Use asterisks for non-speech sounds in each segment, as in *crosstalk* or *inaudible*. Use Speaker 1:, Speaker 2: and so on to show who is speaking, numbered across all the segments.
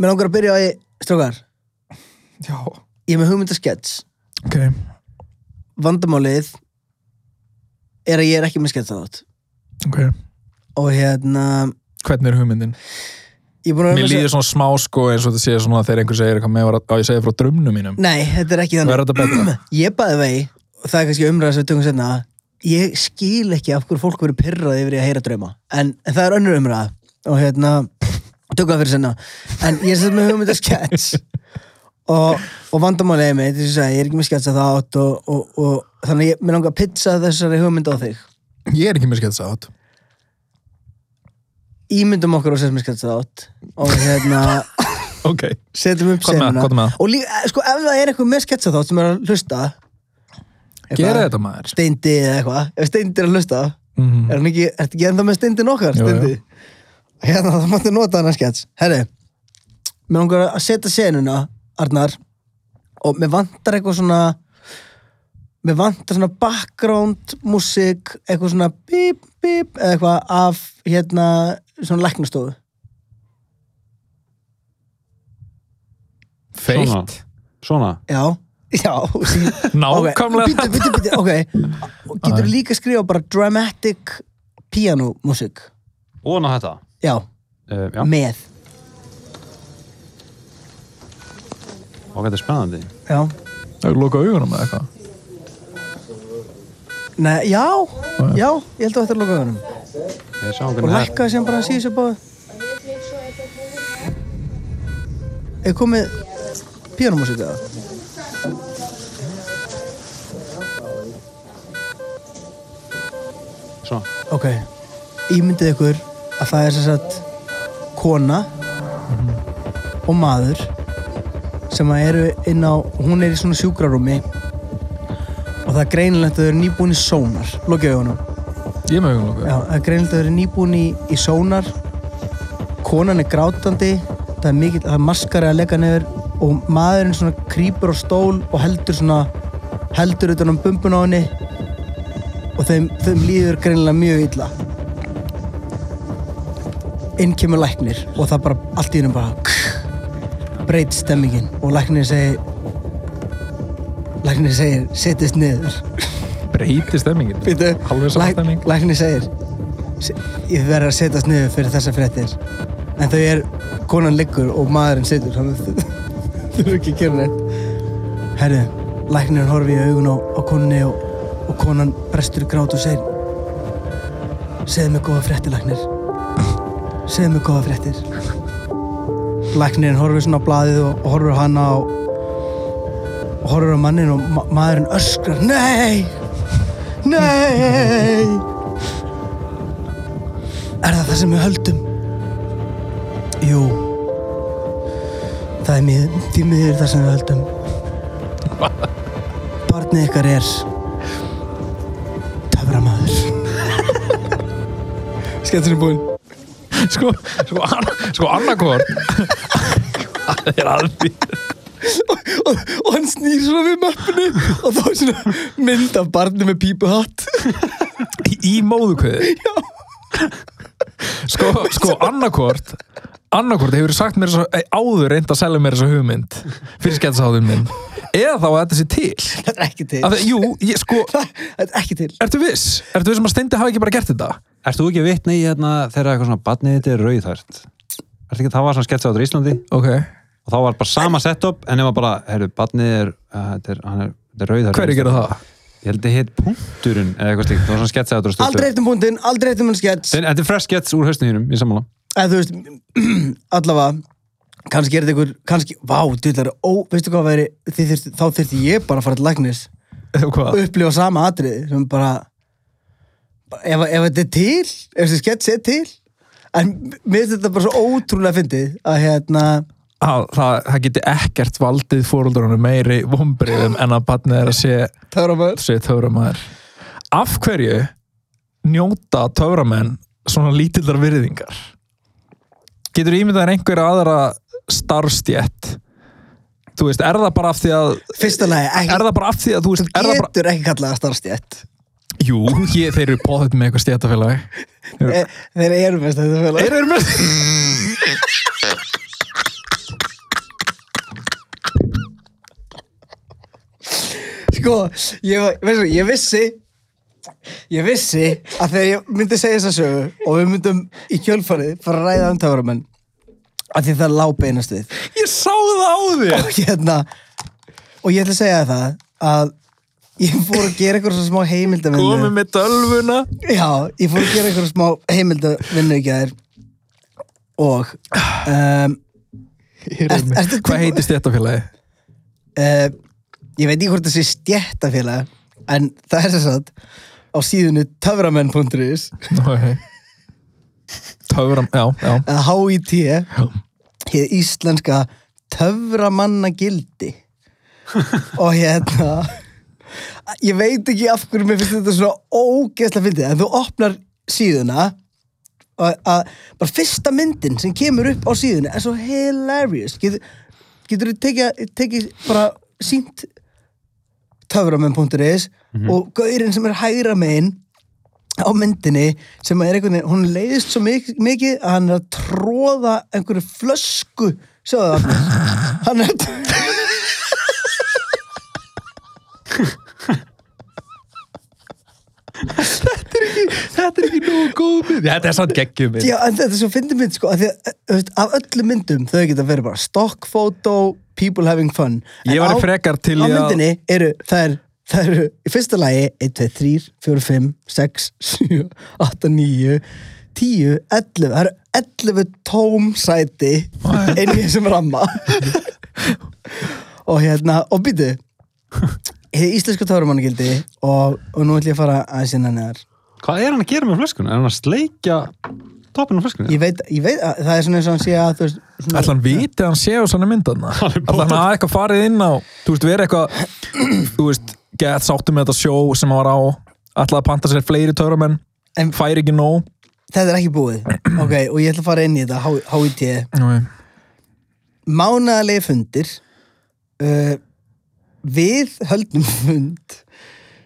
Speaker 1: Mér langar að byrja á því, strókar,
Speaker 2: Já,
Speaker 1: ég er með hugmyndaskets.
Speaker 2: ok.
Speaker 1: Vandamálið er að ég er ekki með skets þátt.
Speaker 2: Ok.
Speaker 1: Og hérna,
Speaker 2: Hvernig er hugmyndin?
Speaker 1: ég er búin að...
Speaker 2: Mér líður svona smá sko eins og þetta sé svona þegar einhver segir eitthvað með var að á, ég segja frá drömnum mínum.
Speaker 1: Nei, þetta er ekki þannig.
Speaker 2: Verður þetta betra?
Speaker 1: Ég baði vegi, og það er kannski umræðan sem við tökum senna, ég skil ekki af hverju fólk verið pyrrað yfir í að heyra drauma. En, en það er önnur umræða og hérna, tökum það fyrir senna. En ég er sett með hugmynda skets *laughs* og, og vandamálið er mitt, þess að ég er ekki með skets að það átt og, og, og þannig ég, mér langar að pizza þessari hugmynd á þig.
Speaker 2: Ég er ekki með sketsa átt.
Speaker 1: Ímyndum okkur á sesmi skets að átt og hérna,
Speaker 2: *laughs* Ok.
Speaker 1: setjum upp
Speaker 2: Hvað með-
Speaker 1: senuna.
Speaker 2: hvað með það?
Speaker 1: Og líka, sko, ef það er eitthvað með skets að sem er að hlusta,
Speaker 2: Gera þetta maður.
Speaker 1: steindi eða eitthvað, ef steindi er að hlusta
Speaker 2: Mm
Speaker 1: Er hann ekki, ertu ekki ennþá með stindin okkar?
Speaker 2: Jú, jú.
Speaker 1: Stindi? Hérna, það máttu nota hann að skets. Herri, mér langar að setja senuna, Arnar, og mér vantar eitthvað svona, mér vantar svona background, músík, eitthvað svona bíp, bíp, eða eitthvað af, hérna, svona læknastofu.
Speaker 2: Feitt.
Speaker 3: Svona.
Speaker 1: Já, já. sí. *laughs*
Speaker 2: Nákvæmlega.
Speaker 1: Ok, bíddu, bíddu, bíddu, ok. Og Getur líka skrifa bara dramatic piano músík.
Speaker 3: Og ná þetta.
Speaker 1: Já,
Speaker 3: Uh, já,
Speaker 1: með.
Speaker 3: og þetta er spennandi. Eh,
Speaker 1: Já.
Speaker 2: Það er loka augunum eða eitthvað.
Speaker 1: Nei, já, já, ég held að þetta er loka augunum
Speaker 3: Ég sjá
Speaker 1: og
Speaker 3: hvernig það
Speaker 1: lækkaði sem bara að síðu sér báði Er komið píanómusík eða?
Speaker 3: er. Svona.
Speaker 1: Ok, ímyndið ykkur að það er sem sagt kona og maður sem að eru inn á, hún er í svona sjúkrarúmi og það er greinilegt að þau eru nýbúin í sónar, lokaði augunum
Speaker 2: Ég er með augun loka.
Speaker 1: Já, það er greinilegt að það eru nýbúin í, í sónar konan er grátandi það er, mikil, það er maskari að leggja nefur og maðurinn svona krýpur á stól og heldur svona heldur utan um bumbun á henni og þeim, þeim líður greinilega mjög illa inn kemur læknir og það bara allt í hennum bara breyt stemmingin og læknir segir læknir segir setjast niður
Speaker 2: Breyti stemmingin.
Speaker 1: Býtu,
Speaker 2: Alveg saman stemming.
Speaker 1: lækni segir "Se- Ég verður að setjast niður fyrir þessa fréttir En þau er Konan liggur og maðurinn situr *laughs* Þannig að þau eru ekki að gera neitt Herru, læknirinn horfi í augun á, á konunni og, og konan brestur í grát og segir Segðu mig góða fréttir, læknir Segðu mig góða fréttir Læknirinn horfir svona á blaðið og, og horfir á hana og, og horfir á mannin og ma maðurinn öskrar Nei! Nei Er það það sem við höldum? Jú Það er mið, því miður það sem við höldum Barnið ykkar er Töframaður Sketsin er búinn
Speaker 2: *laughs* Sko, sko, an, sko annarkvort. *laughs* Það er alveg.
Speaker 1: og, og hann snýr svona við möppinu og þá er svona mynd af barnið með *laughs* pípuhatt
Speaker 2: Í, í móðukveði. Já. Sko, sko annarkvort. Annarkvort hefur sagt mér svo, eh, áður reynd að selja mér þessa hugmynd fyrir sketsaháðum minn eða þá að þetta sé til
Speaker 1: Þetta er ekki til
Speaker 2: að það, jú, ég, sko,
Speaker 1: Þetta er ekki til
Speaker 2: ertu viss? ertu viss um að Steindi hafi ekki bara gert þetta?
Speaker 3: Erst þú ekki vitni í hérna þegar eitthvað svona badnið þetta er rauðhært? Ertu ekki það var svona sketsa áttur í Íslandi
Speaker 2: ok,
Speaker 3: og þá var bara sama setup en nema bara, herru, badnið er, uh, þetta er, hann er, þetta er rauðhært.
Speaker 2: hverju gera það?
Speaker 3: Ég held að hitt punkturinn eða eitthvað slíkt, það var svona sketsa áttur stuttur.
Speaker 1: Aldrei eitt um búndin, aldrei eitt um hann skets
Speaker 3: Þetta þetta er fresh skets úr hausnum hínum, ég sammála.
Speaker 1: eða þú veist, *clears throat* allavega kannski er þetta einhver, kannski, vá, dýrlar ó, veistu hvað væri, þið þyrfti, þá þyrfti ég bara að fara til læknis
Speaker 2: eða
Speaker 1: og
Speaker 2: hvað?
Speaker 1: upplifa sama atriði sem bara, bara ef, ef þetta er til, ef þessi skets er til en mér finnst þetta bara svo ótrúlega fyndið að hérna,
Speaker 2: að það, það geti ekkert valdið fóröldurunum meiri vombriðum en að barnið er að sé,
Speaker 1: töframæður
Speaker 2: sé töframæður af hverju njóta töframenn svona lítildar virðingar getur ímyndaðir einhverja aðra starfstjett þú veist, er það bara af því að
Speaker 1: Fyrsta lagi, ekki,
Speaker 2: er það bara af því að þú veist er það bara,
Speaker 1: getur ekki kallað að starfstjætt
Speaker 2: jú, ég, þeir eru bóðið með eitthvað stjættafélag
Speaker 1: e, Þeir eru best að þetta fjöla
Speaker 2: Þeir eru með
Speaker 1: Sko, ég, var- veistu, ég vissi Ég vissi að þegar ég myndi segja þessa sögu og við myndum í kjölfarið fara að ræða um töframenn að því það lá beinast við
Speaker 2: ég sá það á þér
Speaker 1: og hérna og ég ætla að segja þér það að ég fór að gera eitthvað svona smá heimildavinnu
Speaker 2: komið með dölvuna
Speaker 1: Já, ég fór að gera eitthvað smá heimildavinnu í gæðir og um, Ert- með- ertu
Speaker 2: hvað
Speaker 1: tilbúin?
Speaker 2: heitir stjættafélagi?
Speaker 1: uh, ég veit ekki hvort það sé stjættafélag en það er þess að á síðunni töframenn.is
Speaker 2: Okay. Töfram, já, já
Speaker 1: eða HIT hér íslenska töframannagildi og hérna ég veit ekki af hverju mér finnst þetta svona ógeðslega fyndið en þú opnar síðuna og að bara fyrsta myndin sem kemur upp á síðuna er svo hilarious getur, getur þú tekið, tekið bara sínt töframenn.is og gaurinn sem er hægra megin á myndinni sem er einhvern veginn, hún leiðist svo mikið, mikið að hann er að tróða einhverju flösku sjáðu það hann er
Speaker 2: Þetta er ekki nógu góð mynd Þetta er sann geggjum mynd
Speaker 1: já, en þetta er svo fyndi mynd sko, af því að, þú veist, af öllum myndum þau geta verið bara stock photo, people having fun En
Speaker 2: Ég væri
Speaker 1: á-
Speaker 2: frekar til
Speaker 1: á
Speaker 2: í að-
Speaker 1: myndinni eru, það er Það eru í fyrsta lagi 1, 2, 3, 4, 5, 6, *laughs* 7, 8, 9, 10, 11 Það eru 11 tómsæti inn í þessum ramma og hérna, og býtu Hið íslenska tárumannagildi og, og nú ætlum ég að fara aðeins innan neðar
Speaker 3: Hvað er hann að gera með flöskuna? Er hann að sleikja toppinu á flöskunni?
Speaker 1: Ég veit, ég veit að það er svona eins og hann sé að þú veist svona,
Speaker 2: Ætla hann viti að hann séu svona myndana Ætla hann að eitthvað farið inn á Þú veist, verið eitthvað *clears throat* Þú veist, gett sáttum með þetta sjó sem hann var á Ætla að panta sér fleiri töramenn
Speaker 1: En-
Speaker 2: Færi ekki nóg
Speaker 1: Þetta er ekki búið Ok, og ég ætla að fara inn í þetta H- HIT
Speaker 2: Nei.
Speaker 1: Mánaðalegi fundir uh, Við höldum fund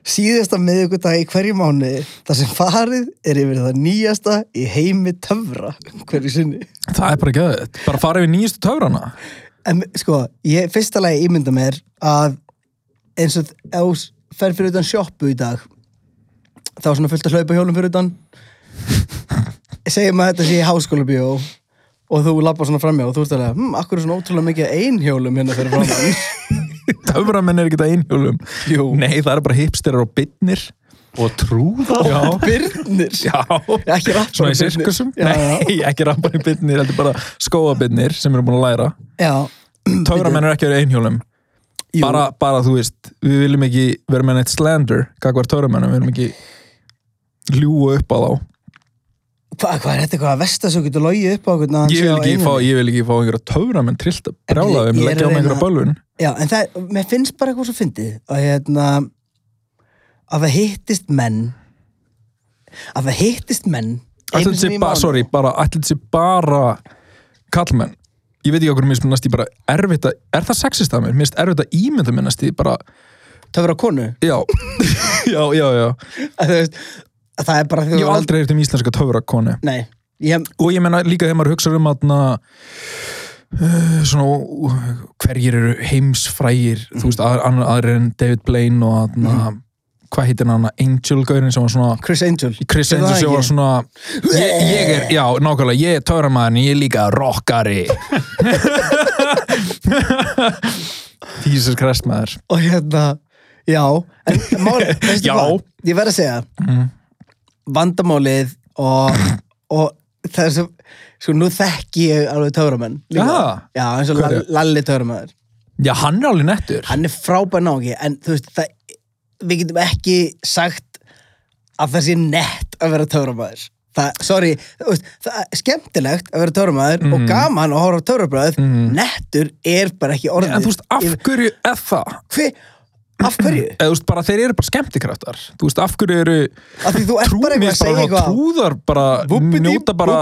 Speaker 1: síðasta miðvikudag í hverju mánu þar sem farið er yfir það nýjasta í heimi töfra hverju sinni
Speaker 2: Það er bara gæðið Bara farið við nýjustu töfrana
Speaker 1: En sko, ég fyrsta lagi ímynda mér að eins og ef þú s- ferð fyrir utan sjoppu í dag þá er svona fullt að hlaupa hjólum fyrir
Speaker 2: *laughs*
Speaker 1: utan segjum að þetta sé í háskólabíó og þú lappar svona framjá og þú ert alveg, hm, akkur er svona ótrúlega mikið af einhjólum hérna fyrir
Speaker 2: *laughs*
Speaker 1: framjá
Speaker 2: *laughs* Töframenn er ekki það einhjólum Jú. Nei, það eru bara hipsterar og bitnir
Speaker 3: Og trúða?
Speaker 2: Já,
Speaker 1: Byrnir
Speaker 2: *laughs* já
Speaker 1: Ekki rapparabirnir.
Speaker 2: Svona í sirkusum
Speaker 1: Já, já.
Speaker 2: Nei, *laughs* ekki rappar í bitnir Þetta er bara skóabitnir sem eru búin að læra
Speaker 1: Já,
Speaker 2: Töframenn eru ekki verið einhjólum
Speaker 1: jú,
Speaker 2: bara, bara þú veist, við viljum ekki vera með neitt slander, gagvar törumennum við viljum ekki ljúa upp á þá
Speaker 1: Hva, hvað er þetta eitthvað að vesta svo getur logið upp á okkur
Speaker 2: ég vil, ekki fá, ég vil ekki fá einhverja töramenn trillt að brjála
Speaker 1: En ég-
Speaker 2: þeim,
Speaker 1: ég er
Speaker 2: leggja á
Speaker 1: að
Speaker 2: með einhverja
Speaker 1: reyna-
Speaker 2: bölvun
Speaker 1: Já, en það, mér finnst bara eitthvað svo fyndið að hérna að það hittist menn að það hittist menn einu sinni
Speaker 2: ætlum þessi
Speaker 1: í
Speaker 2: bara,
Speaker 1: mánuði.
Speaker 2: sorry, bara ætlum þessi bara kallmenn ég veit ekki okkur mér spennast í bara erfitt að, er það sexist að mér, mér finnst erfitt að ímynda minnast í
Speaker 1: *laughs*
Speaker 2: bara,
Speaker 1: Það verður að konu
Speaker 2: já já, já, já,
Speaker 1: að þú veist, að það er bara því
Speaker 2: ég hef aldrei heyrt um íslenska töfrakonu
Speaker 1: Nei, ég,
Speaker 2: og ég menna líka þegar maður hugsa um aðna, uh, svona uh, hverjir eru heimsfrægir þú
Speaker 1: Mm.
Speaker 2: veist, að- annar aðrir en David Blaine og aðna, hvað heitir hann Angel Gaurin sem var svona
Speaker 1: Chris Angel
Speaker 2: Chris
Speaker 1: Ég veit
Speaker 2: Angel
Speaker 1: það
Speaker 2: sem var
Speaker 1: ekki.
Speaker 2: svona ég, ég er, já, nákvæmlega, ég er töframæðin ég er líka
Speaker 1: *laughs*
Speaker 2: rockari Jesus Christ maður
Speaker 1: og hérna, já en máli,
Speaker 2: *laughs*
Speaker 1: veistu
Speaker 2: Já. Mm.
Speaker 1: hvað, ég verð að segja vandamálið og, og það er svo sko nú þekki ég alveg töframenn líka.
Speaker 2: Jaha.
Speaker 1: já, eins og
Speaker 2: Hver er?
Speaker 1: Lall- Lalli töframæður
Speaker 2: já, hann er alveg nettur
Speaker 1: hann er frábær nági en þú veist, það, við getum ekki sagt að það sé nett að vera töframæður það, sorry, þú veist, það er skemmtilegt að vera törumæður
Speaker 2: Mhm.
Speaker 1: og gaman að horfa á törubröð nettur er bara ekki orðið
Speaker 2: En þú veist, af hverju er það?
Speaker 1: Hvi, af hverju?
Speaker 2: Eða þú veist, bara þeir eru bara skemmtikraftar. Þú veist, af hverju eru
Speaker 1: af því þú ert bara eitthvað
Speaker 2: trúmis
Speaker 1: að segja
Speaker 2: bara,
Speaker 1: eitthvað
Speaker 2: trúðar bara, njóta bara...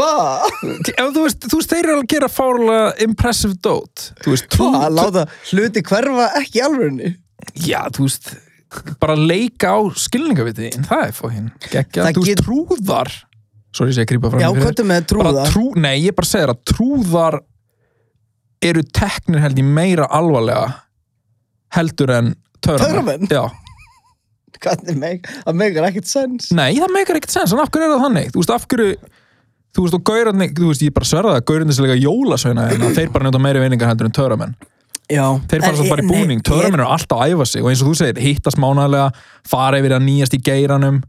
Speaker 1: ba
Speaker 2: Ef þú veist, þú veist, þeir eru alveg að gera fárlega impressive dót. Þú veist, trú...
Speaker 1: *laughs* að láta hluti hverfa ekki í alvörunni
Speaker 2: Já, þú veist, bara leika á skilningaviti. En það er fóðinn. Gekja,
Speaker 1: Það
Speaker 2: þú veist,
Speaker 1: get-
Speaker 2: trúðar... Sorry, ég segi að grípa fram
Speaker 1: já,
Speaker 2: í fyrir-
Speaker 1: hvað er með
Speaker 2: Bara
Speaker 1: trúða?
Speaker 2: Trú, nei, ég bara segir að trúðar eru teknir held ég meira alvarlega heldur en töramenn.
Speaker 1: Törnamenn?
Speaker 2: Já.
Speaker 1: Hvernig meg, það megar ekkert sens
Speaker 2: Nei, það meikar ekkert sens, en af hverju er það þannig? Þú veist, af hverju, þú veist, og gaurarni, þú veist, ég bara sverða það, gaurarni sem leika jólasveina hérna, þeir bara njóta meiri veiningar heldur en töramenn.
Speaker 1: já,
Speaker 2: Þeir fara svo bara í búning, töramenn eru alltaf að æfa sig og eins og þú segir, hittast mánaðlega, fara yfir að nýjast í geiranum,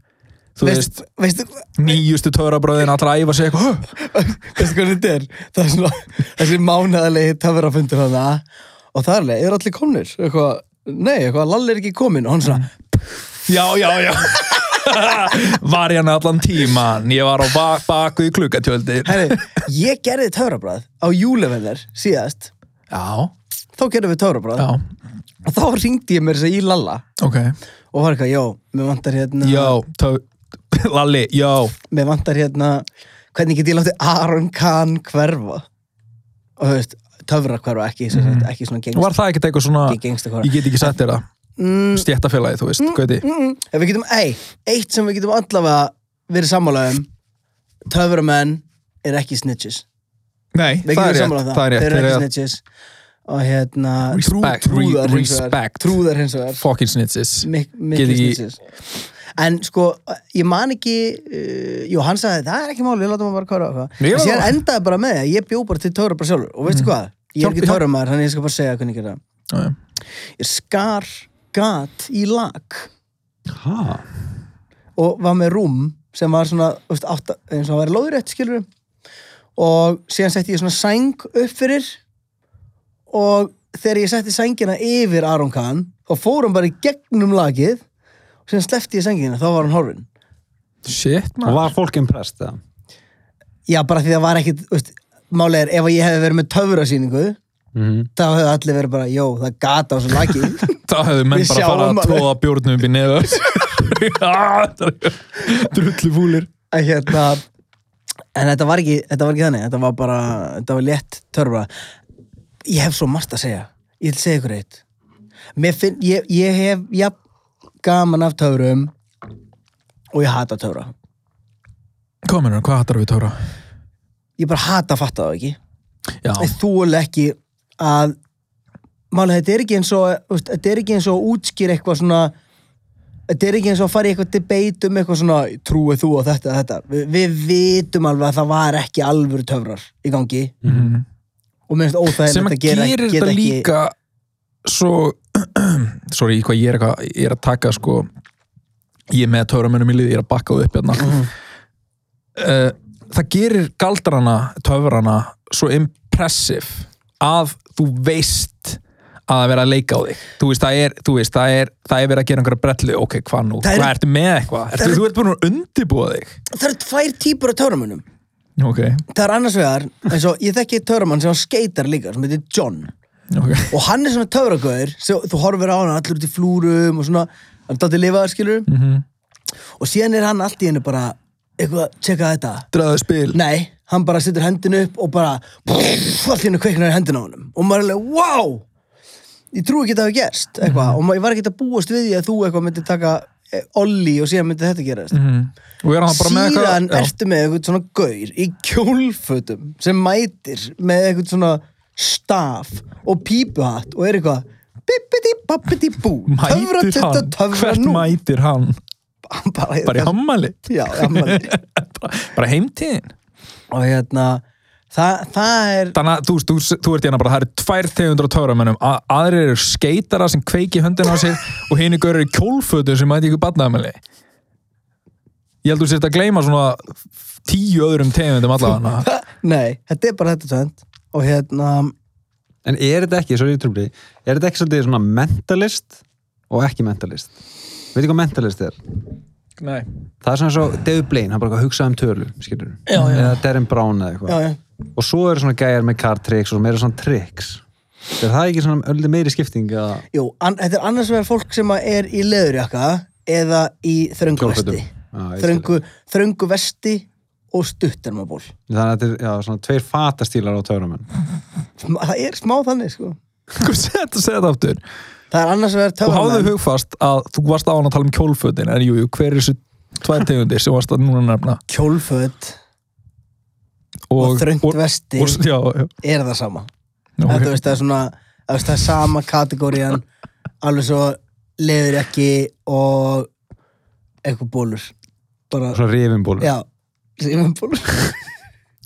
Speaker 2: þú veist,
Speaker 1: veist, veistu,
Speaker 2: nýjustu törabröðin, allra að æfa sig eitthvað, "Hö,
Speaker 1: veistu hvernig þetta er það er svona, þessi mánaðalegi töfrafundur hana og það er alveg, eru allir komnir eitthvað, nei, eitthvað, Lalli er ekki komin og hann svona,
Speaker 2: já, já, já. *laughs* var ég hann allan tíman, ég var á bak, baku í klukkatjöldi.
Speaker 1: herri, ég gerði töfrabræð á júlevenner síðast
Speaker 2: Já,
Speaker 1: þá gerðum við töfrabræð
Speaker 2: já,
Speaker 1: og þá ringdi ég mér þess að í Lalla
Speaker 2: ok.
Speaker 1: og var eitthvað, já, mér vantar hérna
Speaker 2: Já, tö... Lalli, já,
Speaker 1: mér vantar hérna hvernig get ég látið Aron Kahn hverfa og þú veist, töfra hverfa ekki sem sagt, ekki svona gengst,
Speaker 2: Mhm. var það ekkert eitthvað svona...
Speaker 1: ekki gengst
Speaker 2: Ég get ekki sagt þér það.
Speaker 1: mm,
Speaker 2: Stjættafélagi, þú veist, gauti.
Speaker 1: mm, ef við getum, ei, eitt sem við getum allavega verið sammála um töframenn er ekki snitches
Speaker 2: Nei,
Speaker 1: við
Speaker 2: það er
Speaker 1: getum sammála
Speaker 2: rétt,
Speaker 1: um
Speaker 2: það er rétt.
Speaker 1: þeir eru ekki
Speaker 2: Þeir eru
Speaker 1: snitches og hérna
Speaker 2: Respect,
Speaker 1: trú, trúðar,
Speaker 2: re-
Speaker 1: hins vegar,
Speaker 2: respect.
Speaker 1: trúðar hins vegar
Speaker 2: fucking snitches.
Speaker 1: Mik
Speaker 2: Get
Speaker 1: mikið
Speaker 2: ekki-
Speaker 1: snitches en sko, ég man ekki uh, jú, hann sagði, það er ekki máli, við látum hann bara kvara og
Speaker 2: Ég
Speaker 1: eitthvað og
Speaker 2: var
Speaker 1: síðan
Speaker 2: það. Mm.
Speaker 1: endaði bara með því að ég bjó bara til töfra bara sjálfur og veistu hvað, ég er
Speaker 2: Hjálp-
Speaker 1: ekki töframæður þannig ég skal bara segja hvernig ég gera
Speaker 2: Já,
Speaker 1: Mm.
Speaker 2: já.
Speaker 1: ég skar gat í lag
Speaker 3: Ha?
Speaker 1: og var með rúm sem var svona, þú veist, átta, eins og hann væri lóðrétt skilur og síðan setti ég svona sæng upp fyrir og þegar ég setti sængina yfir Aron Kahn þá fór hann bara í gegnum lagið og síðan slefti ég sængina, þá var hann horfinn
Speaker 2: Shit,
Speaker 3: Og
Speaker 2: man.
Speaker 3: var fólk impressed það?
Speaker 1: Já, bara því það var ekkit, þú veist, málega er ef ég hefði verið með töfrasýningu
Speaker 3: Mm -hmm.
Speaker 1: þá hefði allir verið bara, jó, það gata á svo lagi
Speaker 2: Þá hefðu menn
Speaker 1: Við
Speaker 2: bara farað
Speaker 1: sjáum
Speaker 2: að
Speaker 1: alveg.
Speaker 2: tróða bjórnum upp í *laughs* Ah, neðu. Drullu fúlir.
Speaker 1: En hérna, en þetta var ekki þetta var ekki þannig, þetta var bara þetta var létt törfra Ég hef svo margt að segja, ég vil segja ykkur eitt Mér finn, ég, ég hef já, gaman af töfrum og ég hata töfra
Speaker 2: Kominur, hvað hattar við tóra?
Speaker 1: Ég bara hata að fatta það ekki
Speaker 2: Já,
Speaker 1: ég þól ekki að málega þetta er ekki eins og þú veist, þetta er ekki eins og að útskýra eitthvað svona þetta er ekki eins og að fara í eitthvað debate um eitthvað svona trúið þú á þetta, þetta. Vi, við vitum alveg að það var ekki alvöru töfrar í gangi
Speaker 2: Mhm.
Speaker 1: og minnst
Speaker 2: sem
Speaker 1: óþægilegt
Speaker 2: að
Speaker 1: að gera
Speaker 2: gerir
Speaker 1: geta
Speaker 2: þetta líka svo *clears throat* sorry, hvað ég er, eitthvað, ég er að taka sko ég er með töframönum í liði, ég er að bakka þú upp hérna
Speaker 1: Mhm.
Speaker 2: uh, það gerir galdrana, töfrana svo impressive að þú veist að það er verið að leika á þig þú veist, það er, þú veist, það er, það er verið að gera einhverja brellu, ok, hvað nú,
Speaker 1: Það eru-
Speaker 2: hvað ertu með eitthvað ertu,
Speaker 1: eru-
Speaker 2: þú ert búin að undibúa þig
Speaker 1: það eru tvær típur af töframunum
Speaker 2: ok,
Speaker 1: það er annars vegar, eins og ég þekki töframann sem hann skeitar líka, sem heitir John
Speaker 2: ok
Speaker 1: og hann er svona töfragöður þú horfir á hann allir út í flúrum og svona, hann er daldið lifaðar skilur
Speaker 2: mm -hmm.
Speaker 1: og síðan er hann allt í hennu bara eitthvað, tjekka þetta
Speaker 2: draðu spil
Speaker 1: nei, hann bara setur hendin upp og bara pff, allt í hennu kveiknar í hendin á honum og maður er alveg, wow ég trúi ekki að það hafi gerst eitthvað, og maður, ég var ekki að búast við því að þú eitthvað myndi taka eh, Olli og síðan myndi þetta gerast
Speaker 2: mm og er hann bara með
Speaker 1: síðan
Speaker 2: eitthvað já.
Speaker 1: ertu með eitthvað svona gaur í kjólfötum sem mætir með eitthvað svona staf og pípuhatt og er eitthvað bippidi bappidi bú töfra
Speaker 2: mætir
Speaker 1: tutta
Speaker 2: hann,
Speaker 1: töfra
Speaker 2: hvert
Speaker 1: nú
Speaker 2: mætir hann
Speaker 1: Hann bara,
Speaker 2: bara í hammali
Speaker 1: já, ammali
Speaker 2: bara heimtíðin
Speaker 1: og hérna það, það er *laughs*
Speaker 2: þannig að þú, veist, þú, þú ert hérna bara, það eru tvær tegundur á töframennum, A- aðrir eru skeitara sem kveiki höndin á
Speaker 1: *laughs*
Speaker 2: sig og hini görur í kjólfötu sem mæti ykkur badnaðamæli ég held þú sért að gleyma svona tíu öðrum tegundum
Speaker 1: *laughs*
Speaker 2: allavega
Speaker 1: nei, þetta er bara þetta tönd og hérna,
Speaker 3: En er þetta ekki, sorry, ég trubli, er þetta ekki svolítið svona mentalist og ekki mentalist? Veitu hvað mentalist er?
Speaker 4: nei.
Speaker 3: það er svona svo David Blaine, hann bara eitthvað að hugsa um tölu skilur,
Speaker 4: Já, já.
Speaker 3: eða Darren Brown eða
Speaker 1: Já,
Speaker 3: eitthvað
Speaker 1: já.
Speaker 3: og svo eru svona gæjar með card tricks og meira svona tricks er það ekki svona öllum meiri skipting eða
Speaker 1: Jú, an, þetta er annars vegar fólk sem að er í leðurjakka eða í þröngu
Speaker 3: Kjólfötum.
Speaker 1: vesti.
Speaker 3: Já, ég skil.
Speaker 1: Þröngu, þröngu vesti og stuttarmaból.
Speaker 3: þannig að þetta er já, svona tveir fatastílar á törumenn
Speaker 1: Það er smá þannig, sko.
Speaker 2: Sko, segð segð þetta aftur.
Speaker 1: Það er annars vegar
Speaker 2: Þú hafðu
Speaker 1: töframenn.
Speaker 2: hugfast að þú varst á hann að tala um kjólfötin, en jú, jú, hver er þessu tvær tegundir sem varst að núna nefna?
Speaker 1: Kjólföt og, þröngt vesti
Speaker 2: og, já, já,
Speaker 1: er það sama.
Speaker 2: já,
Speaker 1: Þetta,
Speaker 2: okay.
Speaker 1: veist, það er svona, það, veist, það er sama kategóriðan, alveg svo leðurjakki og eitthvað bólur. Bara,
Speaker 3: svona rifinbólur
Speaker 1: já, síðan bólur.